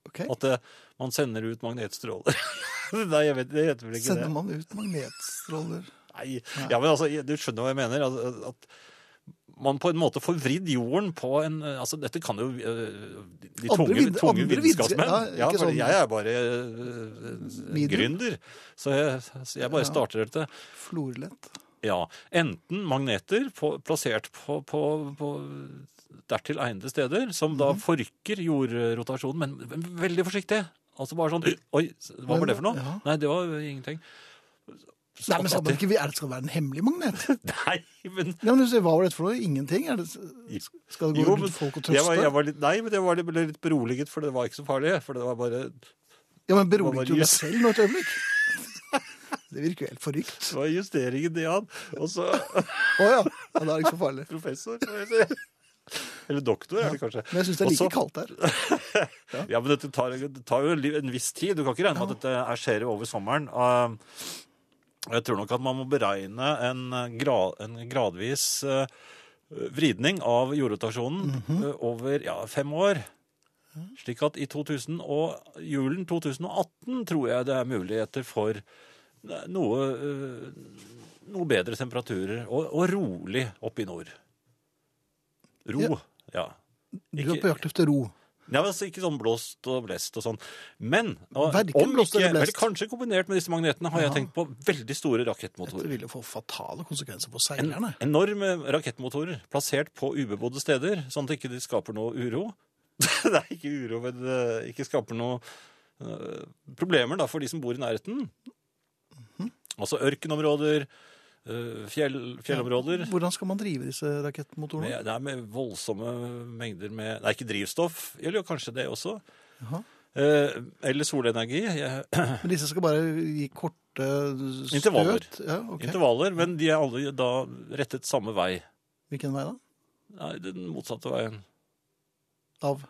Ok. At eh, man sender ut magnetstråler. [LAUGHS] Nei, jeg vet, jeg vet vel ikke Sender det. man ut magnetstråler? Nei. Ja, men altså, Du skjønner hva jeg mener? At, at man på en måte får vridd jorden på en eh, altså Dette kan jo eh, de Andre tunge, vid- tunge andre vitenskap- vitenskapsmenn. ja, Ja, ikke for sånn- jeg er bare eh, Medium. gründer, så jeg, så jeg bare starter dette. Florlett. Ja, Enten magneter på, plassert på, på, på dertil egnede steder, som Mhm. da forrykker jordrotasjonen, men, men veldig forsiktig. Altså bare sånn Oi, hva var det for noe? Ja. Nei, det var ingenting. Så Nei, men skal at man det- ikke, er det skal det være en hemmelig magnet? [LAUGHS] Nei, men Ja, men du sier, Hva var dette for noe? Ingenting? Er det, skal det gå Jo, men rundt folk og trøste? jeg var, jeg var litt, nei, men jeg var litt, ble litt beroliget, for det var ikke så farlig. For det var bare det ja, men Hva var Beroliget du det? deg selv nå et øyeblikk? [LAUGHS] Det virker jo helt forrykt. var justeringen i han. Og så [LAUGHS] Å ja. ja. Det er ikke så farlig. professor. må jeg si. Eller doktor, er det kanskje. Men jeg syns det er like kaldt her. Ja, men dette tar, det tar jo li- en viss tid. Du kan ikke regne med at dette er- skjer over sommeren. Og og jeg tror nok at man må beregne en, eh, gra- en gradvis eh, vridning av jordrotasjonen eh, over ja, fem år. Slik at i 2000 og julen 2018 tror jeg det er muligheter for n- noe, eh, noe bedre temperaturer, og, og rolig oppe i nord. Ro, Ja. ja. Du Ikke- er på jakt etter ro. ja, men altså Ikke sånn blåst og blest og sånn. Men og, Verken om blåst ikke, eller blest. vel, kanskje kombinert med disse magnetene har jeg tenkt på veldig store Dette rakettmotorer. vil jo få fatale konsekvenser for Altså- En, seilerne. enorme rakettmotorer plassert på ubebodde steder, sånn at ikke de skaper noe uro. [LAUGHS] det er ikke uro, men det ikke skaper noe eh, problemer da, for de som bor i nærheten. Mhm. Altså ørkenområder, eh, fjell, fjellområder. Hvordan skal man drive disse rakettmotorene? Med, det er med voldsomme mengder med Nei, ikke drivstoff. Eller jo, kanskje det også. Jaha. Eh, eller solenergi. Jeg, [CLEARS THROAT] Men disse skal bare gi korte støt? Intervaller. Ja, ok. Intervaller. Men de er alle da rettet samme vei. Hvilken vei da? Nei, den motsatte veien. Av?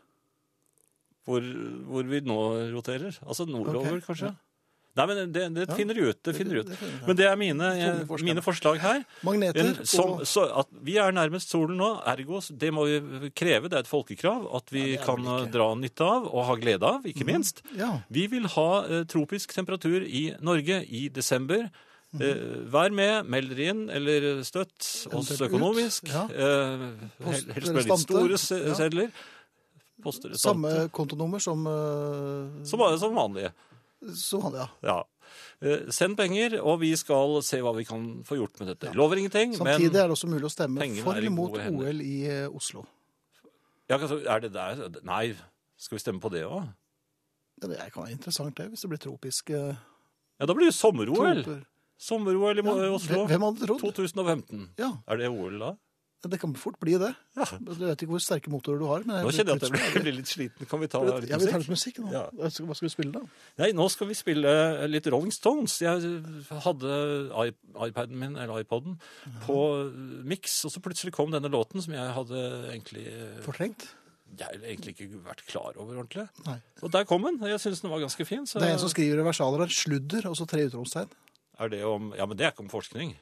Hvor, hvor vi nå roterer. Altså nordover, Ok, kanskje. ja. Nei, men det, det Ja. finner de ut. Det finner de det- ut. det finner de ut. Men det er mine, Tunge eh, forskere. mine forslag her. Magneter? En, som, og... så at vi er nærmest solen nå, ergo så det må vi kreve, det er et folkekrav, at vi det er kan vel eh, ikke. Mhm. dra nytte av og ha glede av, ikke minst. Ja. Vi vil ha eh, tropisk temperatur i Norge i desember. Mhm. Eh, vær med, meld dere inn, eller støtt oss Eventuelt ut, økonomisk. ja. Eh, Post hel- helst med litt restante, store se- ja. sedler. Poster Samme restante. kontonummer som eh, Som, var- som vanlige. Så han, ja. Ja. Eh, send penger, og vi skal se hva vi kan få gjort med dette. Lover ingenting, Samtidig men er det også mulig å stemme pengene for er i eller mot gode hender. OL i eh, Oslo. ja, altså, Er det der? Nei, skal vi stemme på det òg? Ja, det kan være interessant, det, hvis det blir tropiske Ja, da blir det sommer-OL. troper. Sommer-OL i Mo- Ja, Oslo Hvem hadde trodd? 2015. Ja, Er det OL da? det kan fort bli det. Ja. Du vet ikke hvor sterke motorer du har. Men Nå kjenner jeg at jeg blir- blir litt sliten. Kan vi ta litt Ja, vi tar musikk? litt musikk nå. Ja. Hva skal vi spille, da? Nei, nå skal vi spille eh, litt Rolling Stones. Jeg hadde iP- iPaden min, eller iPoden, på eh, mix, og så plutselig kom denne låten som jeg hadde egentlig eh, Fortrengt? Jeg hadde egentlig ikke vært klar over ordentlig. Nei. Og der kom den. Jeg syns den var ganske fin. Så Det er en som skriver i versaler her 'sludder' og så tre utropstegn. er det om Ja, men det er ikke om forskning.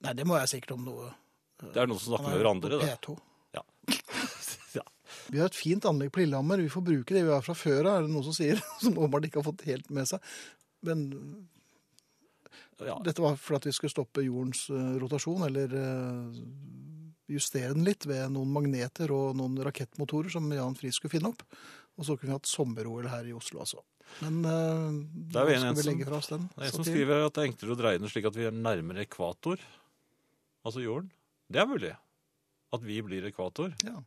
Nei, det må jeg sikkert om noe Det er noen som snakker med Han er hverandre, på da. P2. Ja. Vi har et fint anlegg på Lillehammer. Vi får bruke det vi har fra før av, er det noen som sier. [LAUGHS] Som åpenbart ikke har fått helt med seg. Men [LAUGHS] Ja. dette var for at vi skulle stoppe jordens eh, rotasjon, eller eh, justere den litt ved noen magneter og noen rakettmotorer som Jan Friis skulle finne opp. Og så kunne vi hatt sommer-OL her i Oslo, altså. Men Det er uh, jo en skal vi som- legge fra oss den. Det er en som satiren. skriver at det er enklere å dreie den slik at vi er nærmere ekvator, altså jorden. Det er mulig. At vi blir ekvator. Ja.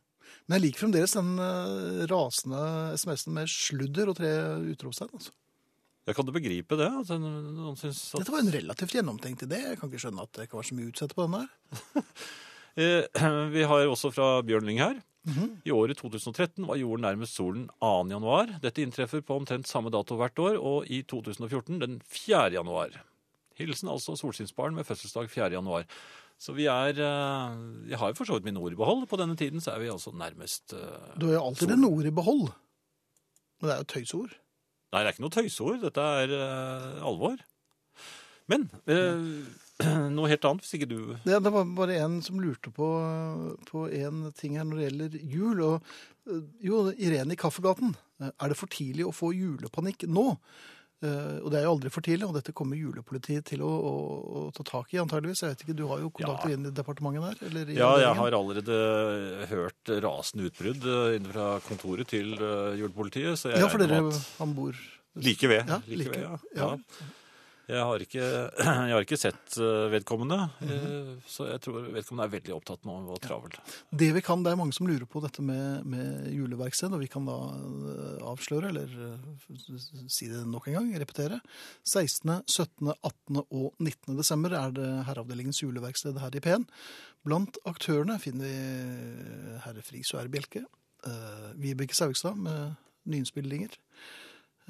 Men jeg liker fremdeles den eh, rasende SMS-en med sludder og tre utropstegn. Altså. Jeg kan du begripe det? At en- noen syns at Dette var en relativt gjennomtenkt idé. Jeg kan ikke skjønne at det kan være så mye å utsette på den der. eh, [CLEARS THROAT] Vi har også fra Bjørn Lyng her. I året 2013 var jorden nærmest solen 2. januar. Dette inntreffer på omtrent samme dato hvert år, og i 2014 den 4. januar. Hilsen altså solskinnsbarn med fødselsdag 4. januar. Så vi er eh, Jeg har jo for så vidt mine ord i behold. På denne tiden så er vi altså nærmest eh, Du har jo alltid Sol. en ord i behold. Men det er jo et tøysord. Nei, det er ikke noe tøyseord. Dette er eh, alvor. Men eh, [CLEARS THROAT] noe helt annet, hvis ikke du Det, det var bare en som lurte på, på en ting her når det gjelder jul. Og, eh, jo, Irene i Kaffegaten. eh, Er det for tidlig å få julepanikk nå? Eh, og det er jo aldri for tidlig, og dette kommer julepolitiet til å, å, å ta tak i, antageligvis. Jeg vet ikke, Du har jo kontakter inn i departementet der? Eller i Ja, jeg regjeringen. har allerede hørt rasende utbrudd eh, inne fra kontoret til eh, julepolitiet. Så jeg Ja, for regner dere med at- han bor Like ved. Ja, like like- ved, ja. ja. ja. Jeg har, ikke, [CLEARS THROAT] jeg har ikke sett eh, vedkommende, eh, Mhm. så jeg tror vedkommende er veldig opptatt nå og travel. Det vi kan, det er mange som lurer på dette med, med juleverksted, og vi kan da eh, avsløre, eller eh, si det nok en gang, repetere. 16., 17., 18. og 19. desember er det herreavdelingens juleverksted her i P1. Blant aktørene finner vi herre Friis og herre Bjelke, eh, Vibeke Saugstad med nyinnspillinger,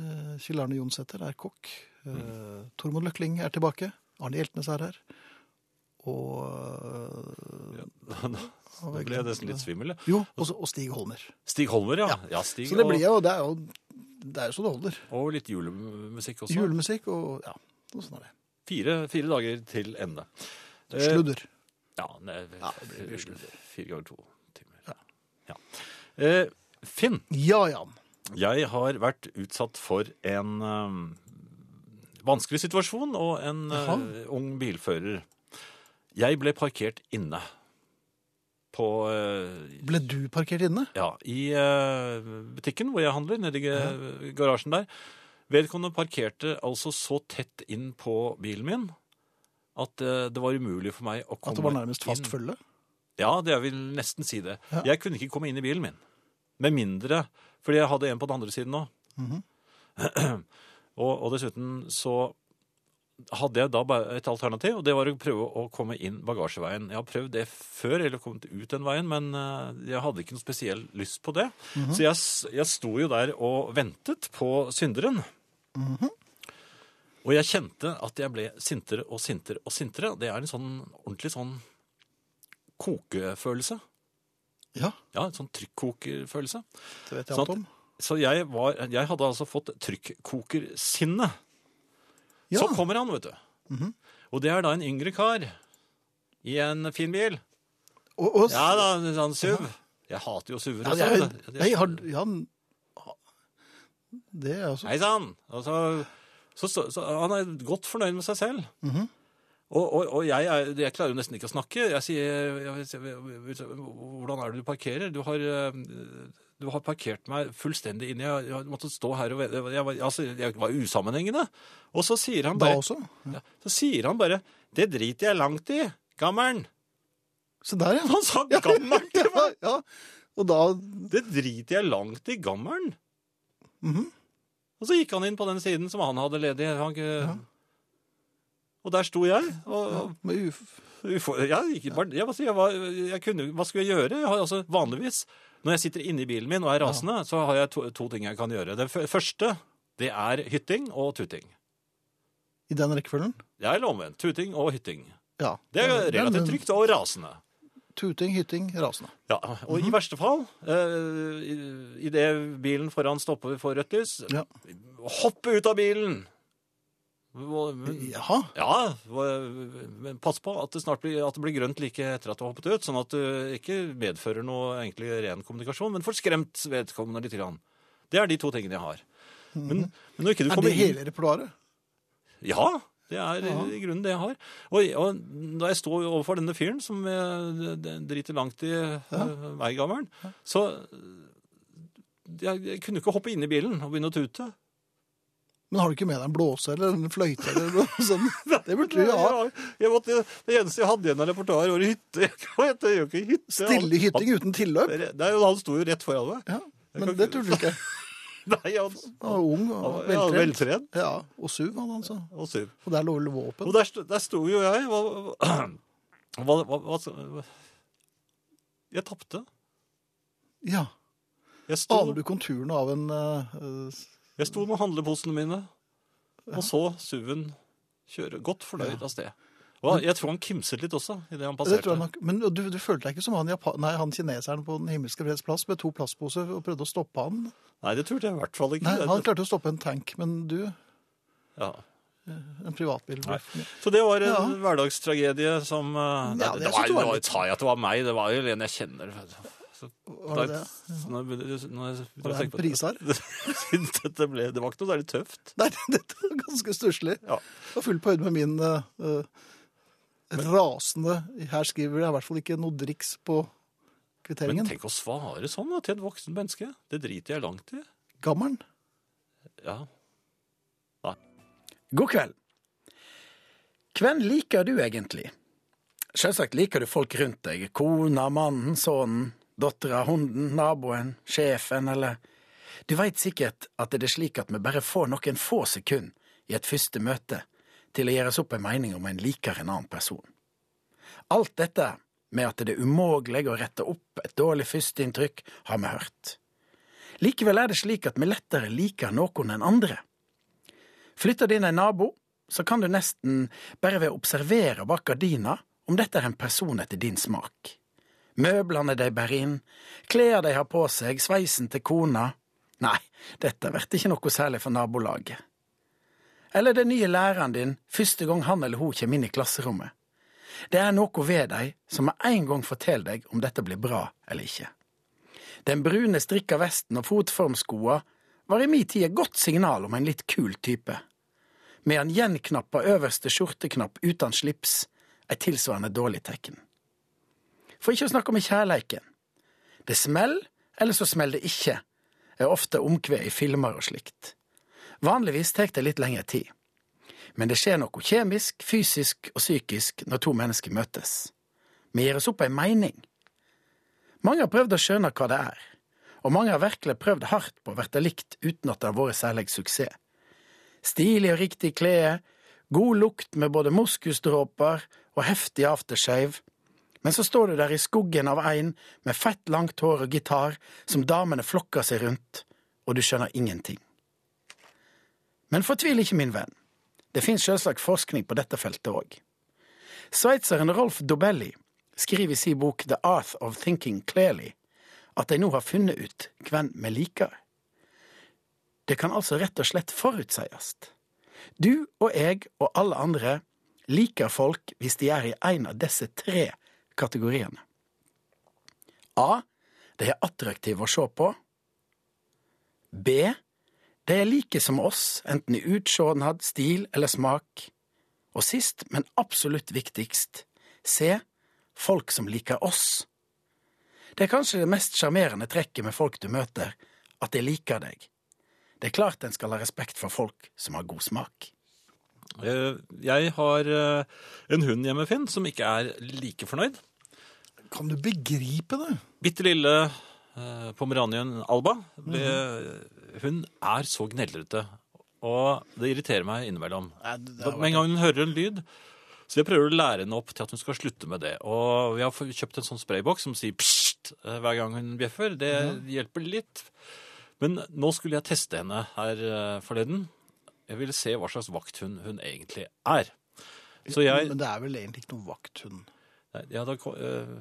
eh, Kjell Arne Jonsæter er kokk, eh, Tormod Løkling er tilbake, Arne Hjeltnes er her, og eh, [LAUGHS] Nå ble jeg nesten litt svimmel. jeg. jo, og, så- og Stig Holmer. Stig Holmer, ja. ja Stig, Så det og- blir jo, det er jo, det er jo så det holder. Og litt julemusikk også. Julemusikk og ja, og sånn er det. Fire, fire dager til ende. Eh, Sludder. Ja, nei, det blir mye sludder. fire ganger to timer. Ja. Eh, Finn, Ja, Jan. jeg har vært utsatt for en eh, vanskelig situasjon og en eh, Jaha. ung bilfører. Jeg ble parkert inne på eh, Ble du parkert inne? ja, i eh, butikken hvor jeg handler, nede i ga- garasjen der. Vedkommende parkerte altså så tett inn på bilen min at eh, det var umulig for meg å komme At det var nærmest fast inn. følge? Ja, det jeg vil nesten si det. Ja. Jeg kunne ikke komme inn i bilen min. Med mindre, fordi jeg hadde en på den andre siden òg. [CLEARS THROAT] og, og dessuten så hadde jeg da bare et alternativ, og det var å prøve å komme inn bagasjeveien. Jeg har prøvd det før, eller kommet ut den veien, men eh, jeg hadde ikke noe spesiell lyst på det. Så jeg, s- jeg sto jo der og ventet på synderen. Og jeg kjente at jeg ble sintere og sintere og sintere. Det er en sånn ordentlig sånn kokefølelse. Ja, Ja, en sånn trykkokerfølelse. det vet jeg Sånn alt at- om. Så jeg, var, jeg hadde altså fått trykkokersinne. Ja. Mhm. Så kommer han, vet du. Og det er da en yngre kar i en fin bil. Og, og, Ja da, en sånn SUV. Jeg hater jo SUV-er. altså. Ja, også, jeg, vet du. nei, har, Jan Det er altså Hei sann! Og så- så, så, så han er godt fornøyd med seg selv. Mhm. Og, og, og jeg, er, jeg klarer jo nesten ikke å snakke. Jeg sier jeg, vet- jeg, vet- 'Hvordan er det du parkerer?' Du har, eh, du har parkert meg fullstendig inne. Jeg, jeg måtte stå her og vente. Jeg, var- altså, jeg var usammenhengende. Og så sier han Da bare, også? ja, så sier han bare 'Det driter jeg langt i, gammer'n'. Se der, ja. [LAUGHS] Han sa 'gammer'n'! ja, ja. Og da Det driter jeg langt i gammelen. Mhm. Og så gikk han inn på den siden som han hadde ledig. Han, Og der sto jeg. Og, og, med uf, ufor- jeg, gikk bare, jeg, altså, jeg, var, jeg kunne, hva skulle jeg gjøre? Jeg har, altså, vanligvis, når jeg sitter inne i bilen min og er rasende, så har jeg to, to ting jeg kan gjøre. Den f- første, det er hytting og tuting. I den rekkefølgen? Det er omvendt. Tuting og hytting. Ja. Det er Men- men relativt trygt og rasende. Tuting, hytting, rasende. Ja, og Mhm. i verste fall, eh, i idet bilen foran stopper for rødt lys, Ja. hoppe ut av bilen! Hva- Jaha. Ja, hva- men pass på at det snart blir, at det blir grønt like etter at du har hoppet ut, sånn at du ikke medfører noe egentlig ren kommunikasjon, men får skremt vedkommende litt. Grann. Det er de to tingene jeg har. Men, men når ikke du Mhm. Er kommer det inn... hele repertoaret? Ja, det er i grunnen det jeg har. Og, og da jeg står overfor denne fyren som eh, d- driter langt i eh, veigammelen, så eh, jeg, jeg kunne ikke hoppe inn i bilen og begynne å tute. Men har du ikke med deg en blåse eller en fløyte eller noe [LAUGHS] sånt? Det burde du jo ha. Jeg måtte, det eneste jeg hadde igjen av repertoar, var hytte. Jeg gjør jo ikke hytte. Stille hytting uten tilløp. Han, Nei, han sto jo rett foran meg. Ja, men det turde du ikke. Nei, han, Han var ung og han var veltrent. veltrent Ja, og suv hadde han så. og sur. Og der lå vel våpen. Og der, sto- der sto jo jeg. Hva, hva, hva, hva Jeg tapte. Ja. Jeg sto, Aner du konturene av en eh, jeg sto med handleposene mine, og så suven kjøre godt fornøyd av sted. Og jeg tror han kimset litt også idet han eh, det tror passerte. jeg nok. Men du, du følte deg ikke som han, Japan, nei, han kineseren på Den himmelske freds plass med to plastposer og prøvde å stoppe han? Nei, det turte jeg i hvert fall ikke. Nei, Det- han klarte å stoppe en tank, men du, ja. en privatbil ble Nei. Så det var en Ja. hverdagstragedie som eh, nei, Ja, det, det var, synes jeg det var var, litt- sa jeg at det var meg, det var jo en jeg kjenner. Så, Var det da- det? så når jeg begynner- når jeg begynner å Var det tenke en på [LAUGHS] prisar? Synes dette ble, det var ikke noe særlig tøft. Nei, [LAUGHS] dette var ganske stusslig. Ja. Jeg var fullt på høyde med min eh, eh, rasende Her skriver jeg i hvert fall ikke noe driks på Men kvitteringen. tenk å svare sånn da, til et voksen menneske. Det driter jeg langt i. Gammelen. Ja. God kveld. Hvem liker du egentlig? Selvsagt liker du folk rundt deg. Kona, mannen, sønnen, dattera, hunden, naboen, sjefen, eller Du veit sikkert at det er slik at vi bare får noen få sekunder i et første møte til å gjøre oss opp en mening om en liker en annen person. Alt dette med at det er umulig å rette opp et dårlig førsteinntrykk, har vi hørt. Likevel er det slik at vi lettere liker noen enn andre. Flytter du inn en nabo, så kan du nesten bare ved å observere bak gardina om dette er en person etter din smak. Møblene de bærer inn, klær de har på seg, sveisen til kona. Nei, dette blir ikke noe særlig for nabolaget. Eller den nye læreren din første gang han eller hun kommer inn i klasserommet. Det er noe ved dem som med en gang forteller deg om dette blir bra eller ikke. Den brune strikka vesten og fotformskoa var i min tid et godt signal om en litt kul type. Med en gjenknappa øverste skjorteknapp uten slips, ei tilsvarende dårlig tegn. For ikke å snakke om i kjærleiken. Det smell, eller så smell det ikke, er ofte omkvedet i filmer og slikt. Vanligvis tar det litt lengre tid. Men det skjer noe kjemisk, fysisk og psykisk når to mennesker møtes. Vi gir oss opp ei mening. Mange har prøvd å skjønne hva det er, og mange har virkelig prøvd hardt på å verte likt uten at det har vært særlig suksess. Stilig og riktig klede, god lukt med både moskusdråper og heftig aftershave, men så står du der i skuggen av en med fett, langt hår og gitar som damene flokker seg rundt, og du skjønner ingenting. Men fortvil ikke, min venn. Det finnes selvsagt forskning på dette feltet òg. Sveitseren Rolf Dobelli skriver i sin bok The Art of Thinking Clearly at de nå har funnet ut hvem vi liker. Det kan altså rett og slett forutsies. Du og jeg og alle andre liker folk hvis de er i en av disse tre kategoriene. A. De er attraktive å se på. B. De er like som oss, enten i utsjånad, stil eller smak. Og sist, men absolutt viktigst, se folk som liker oss. Det er kanskje det mest sjarmerende trekket med folk du møter, at de liker deg. Det er klart en skal ha respekt for folk som har god smak. Eh, Jeg har eh, en hund hjemme, Finn, som ikke er like fornøyd. Kan du begripe det? Bitte lille eh, pomeranien Alba. ble- Hun er så gneldrete, og det irriterer meg innimellom. Da- Med en gang hun hører en lyd, så jeg prøver å lære henne opp til at hun skal slutte med det. Og vi har fått- kjøpt en sånn sprayboks som sier psst eh, hver gang hun bjeffer. Det hjelper litt. Men nå skulle jeg teste henne her eh, forleden. Jeg ville se hva slags vakthund hun egentlig er. Så jeg Men det er vel egentlig ikke noen vakthund. Nei, Ja, da, ko- eh,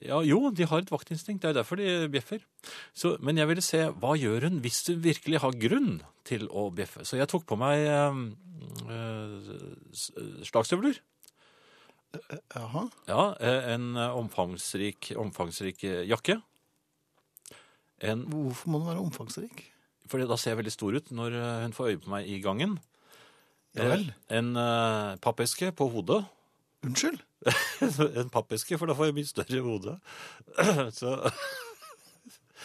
ja, jo, de har et vaktinstinkt. Det er derfor de bjeffer. Så, men jeg ville se hva gjør hun hvis hun virkelig har grunn til å bjeffe. Så jeg tok på meg eh, eh, s- eh, slagstøvler. Jaha. Ja, eh, en eh, omfangsrik, omfangsrik eh, jakke. En, Hvorfor må den være omfangsrik? for da ser jeg veldig stor ut når eh, hun får øye på meg i gangen. Ja vel. Eh, En eh, pappeske på hodet. [LAUGHS] Unnskyld? [CLEARS THROAT] en pappeske, for da får jeg mye større hode. Så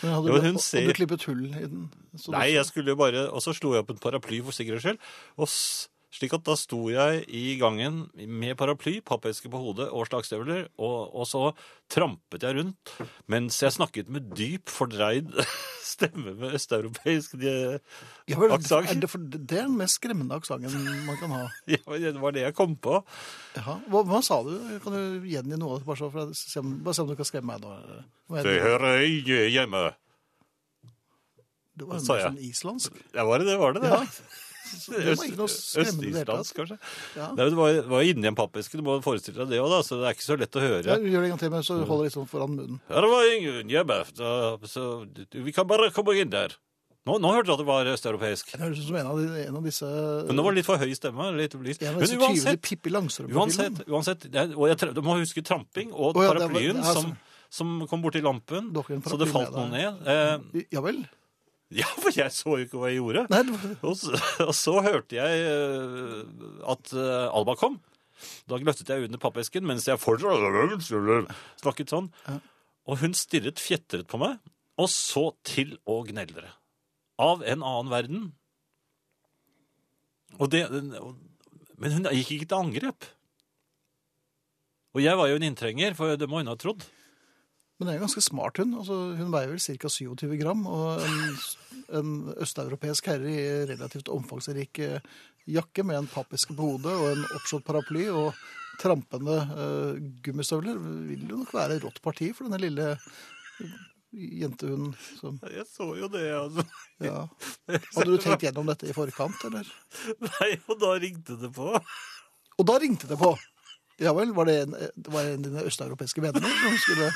Men hadde, Jo, du- hun hadde ser- du klippet hull i den? Så Nei, jeg skulle jo bare Og så slo jeg opp en paraply for sikkerhets skyld. Og s- slik at da sto jeg i gangen med paraply, pappeske på hodet og slagstøvler, og, og så trampet jeg rundt mens jeg snakket med dyp, fordreid [LAUGHS] stemme med østeuropeisk de- Ja, vel, aksent. Er det, for, det er den mest skremmende aksenten man kan ha. Ja, Det var det jeg kom på. Jaha. Hva, hva sa du? Kan du gjengi noe? av det, Bare, så, for å se om, bare se om du kan skremme meg nå. Hva Det det? hører jeg hjemme. Det var sa mer jeg. sånn islandsk. Det var det, det var det. det. Ja. Så Det var ikke noe Øst- skremmende i det hele Øst-Islands, tatt. kanskje. Ja. Nei, men det var, det var inni en pappeske, du må forestille deg det òg, så det er ikke så lett å høre. Ja, gjør det en gang til, men så holder jeg litt sånn foran munnen. Ja, det var ingen hjemme, så, så du- vi kan bare komme inn der. Nå, nå hørte jeg at det var østeuropeisk. Det høres ut som en av, de, en av disse Men det var litt for høy stemme. Litt lyst. en Men av disse tyvelige uansett, Pippi Langstrømpe-filmene. uansett, uansett det er- og jeg, tre- du må huske tramping Å, ja, og det var- det paraplyen er altså- som, som kom borti lampen, Dere en så det paraply falt noe med ned. Eh, [LAUGHS] Ja vel? ja, for jeg så jo ikke hva jeg gjorde. Nei, det var- [LAUGHS] Og så, og så hørte jeg eh, at eh, Alba kom. Da gløttet jeg under pappesken mens jeg fortsatt snakket sånn. Og hun stirret fjetret på meg, og så til å gneldre. Av en annen verden. Og det, og- men hun gikk ikke til angrep. Og jeg var jo en inntrenger, for det må hun ha trodd. men det er en ganske smart hund. Altså, hun veier vel ca. 27 gram. Og en, en østeuropeisk herre i relativt omfangsrik eh, jakke med en pappeske på hodet og en oppslått paraply og trampende eh, gummistøvler vil jo nok være rått parti for denne lille eh, jentehunden. Som, Jeg så jo det, altså. ja. Hadde du tenkt gjennom dette i forkant, eller? [LAUGHS] Nei, og da ringte det på. Og da ringte det på. Ja vel, var det en, det var en av dine østeuropeiske venner som skulle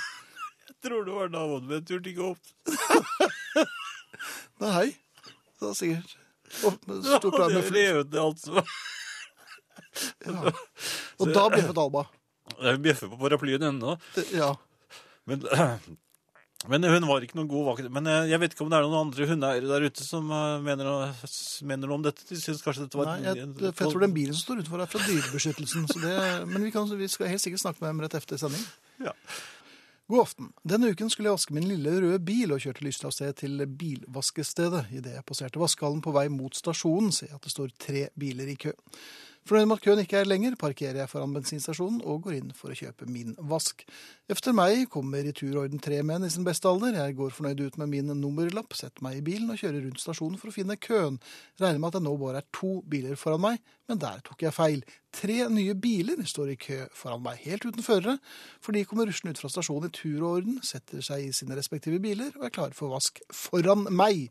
Tror det var naboen min, turte ikke opp. Nei, hei. Det var sikkert og, med Ja, stort arm det med fl- levde alt som var. ja. [LAUGHS] og da bjeffet Alba. Hun bjeffer på paraplyen ennå. Det- Ja. Men, [CLEARS THROAT] men hun var ikke noen god vakt. Men eh, jeg vet ikke om det er noen andre hundeeiere der ute som eh, mener noe, mener noe om dette. De syns kanskje dette var Nei, jeg, for jeg tror den bilen som står utenfor, er fra Dyrebeskyttelsen. Så det, men vi, kan, vi skal helt sikkert snakke med dem rett etter sending. Ja. God aften. Denne uken skulle jeg vaske min lille røde bil og kjørte lyst av sted til bilvaskestedet. Idet jeg passerte vaskehallen på vei mot stasjonen, ser jeg at det står tre biler i kø. Fornøyd med at køen ikke er lenger, parkerer jeg foran bensinstasjonen og går inn for å kjøpe min vask. Efter meg kommer i tur og orden tre menn i sin beste alder. Jeg går fornøyd ut med min nummerlapp, setter meg i bilen og kjører rundt stasjonen for å finne køen. Regner med at det nå bare er to biler foran meg, men der tok jeg feil. Tre nye biler står i kø foran meg, helt uten førere, for de kommer ruslende ut fra stasjonen i tur og orden, setter seg i sine respektive biler og er klare for vask foran meg.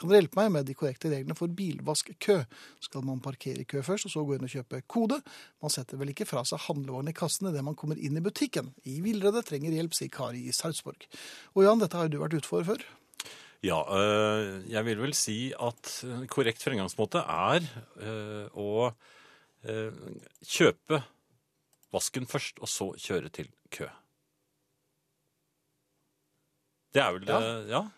Kan dere hjelpe meg med de korrekte reglene for bilvaskkø? Skal man parkere i kø først, og så gå inn og kjøpe kode? Man setter vel ikke fra seg handlevogn i kassen idet man kommer inn i butikken. I villrede trenger hjelp, sier Kari i Sarpsborg. Og Jan, dette har jo du vært ute for før. Ja, øh, jeg vil vel si at en korrekt fremgangsmåte er øh, å øh, kjøpe vasken først, og så kjøre til kø. Det er vel det, ja.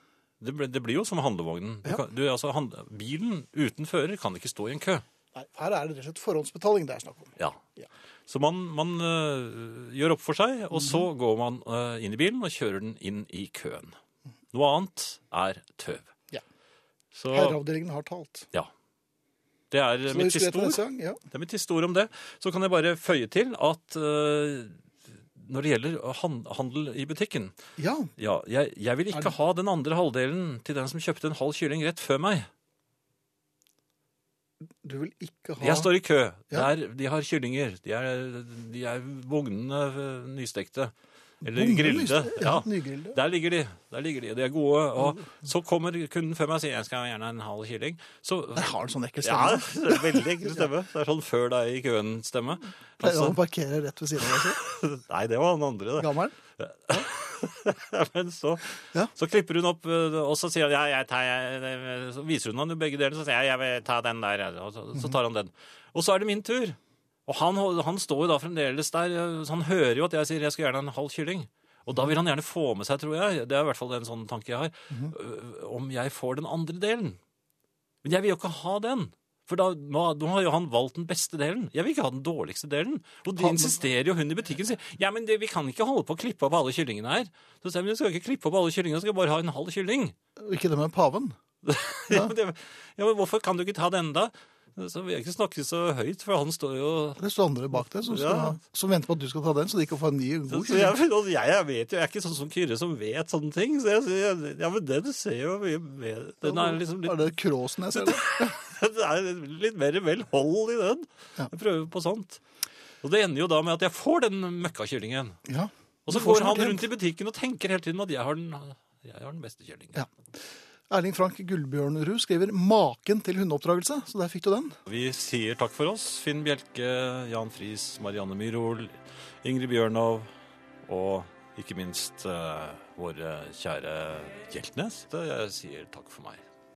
Det, blir- det blir jo som handlevognen. Du Ja. kan, du, altså, hand, bilen uten fører kan ikke stå i en kø. Nei, her er det rett og slett forhåndsbetaling det er snakk om. Ja. Ja. Så man, man øh, gjør opp for seg, og så går man øh, inn i bilen og kjører den inn i køen. Noe annet er tøv. Ja. Så, Herreavdelingen har talt. ja. Det er Så mitt husker siste dere neste ord. gang? Ja. Det er mitt siste ord om det. Så kan jeg bare føye til at øh, når det gjelder han- handel i butikken ja. ja, jeg, jeg vil ikke ha den andre halvdelen til den som kjøpte en halv kylling rett før meg. Du vil ikke ha Jeg står i kø. Ja. Der, de har kyllinger. De er, de er vognene øh, nystekte. Eller Bonden grillede. lyst- Ja, Ja. Nygrillede. Der ligger de. Der ligger de, og de er gode. Og så kommer kunden før meg og sier 'jeg skal gjerne ha en halv kylling'. Så Der har han sånn ekkel ja, stemme. det er veldig ekkel stemme. Det er sånn før deg i køen-stemme. Pleier han å Altså, parkere rett ved siden av deg? så? nei, det var han andre, det. Gammelen? [LAUGHS] Men så, Ja. så klipper hun opp, eh, og så sier hun ja, jeg tar, jeg, så viser hun han jo begge deler, så sier jeg jeg vil ta den der, jeg», og så, Mhm. så tar han den. Og så er det min tur. Og han, hold- han står jo da fremdeles der, eh, så han hører jo at jeg sier jeg skal gjerne ha en halv kylling. Og da vil han gjerne få med seg, tror jeg, det er i hvert fall en Mhm. sånn Eh, tanke jeg har, øh, om jeg får den andre delen. Men jeg vil jo ikke ha den. For da, nå, nå har jo han valgt den beste delen. Jeg vil ikke ha den dårligste delen. Og de insisterer jo hun i butikken sier ja, men det, vi kan ikke holde på å klippe opp alle kyllingene her. Så sier jeg, men du skal ikke klippe opp alle kyllingene, du skal bare ha en halv kylling. [LAUGHS] Ikke det med paven. Ja. men det, ja, men hvorfor kan du ikke ta den da? Så vil jeg ikke snakke så høyt, for han står jo Det står andre bak deg som, skal, Ja. som venter på at du skal ta den, så de kan få en ny så, god så jeg, og jeg, jeg vet jo, jeg er ikke sånn som Kyrre som vet sånne ting. Så jeg sier ja, men den ser jo mye mer Den er liksom litt Er det Kråsen jeg ser? da? [LAUGHS] Det er litt mer velhold i den. Jeg prøver på sånt. Og det ender jo da med at jeg får den møkkakyllingen. Ja. Og Du så får går så han fortjent. rundt i butikken og tenker hele tiden at jeg har den, jeg har den beste kyllingen. Ja. Erling Frank Gullbjørnerud skriver 'Maken til hundeoppdragelse', så der fikk du den. Vi sier takk for oss. Finn Bjelke, Jan Friis, Marianne Myrhol, Ingrid Bjørnov og ikke minst eh, våre kjære Hjeltnes. Jeg sier takk for meg.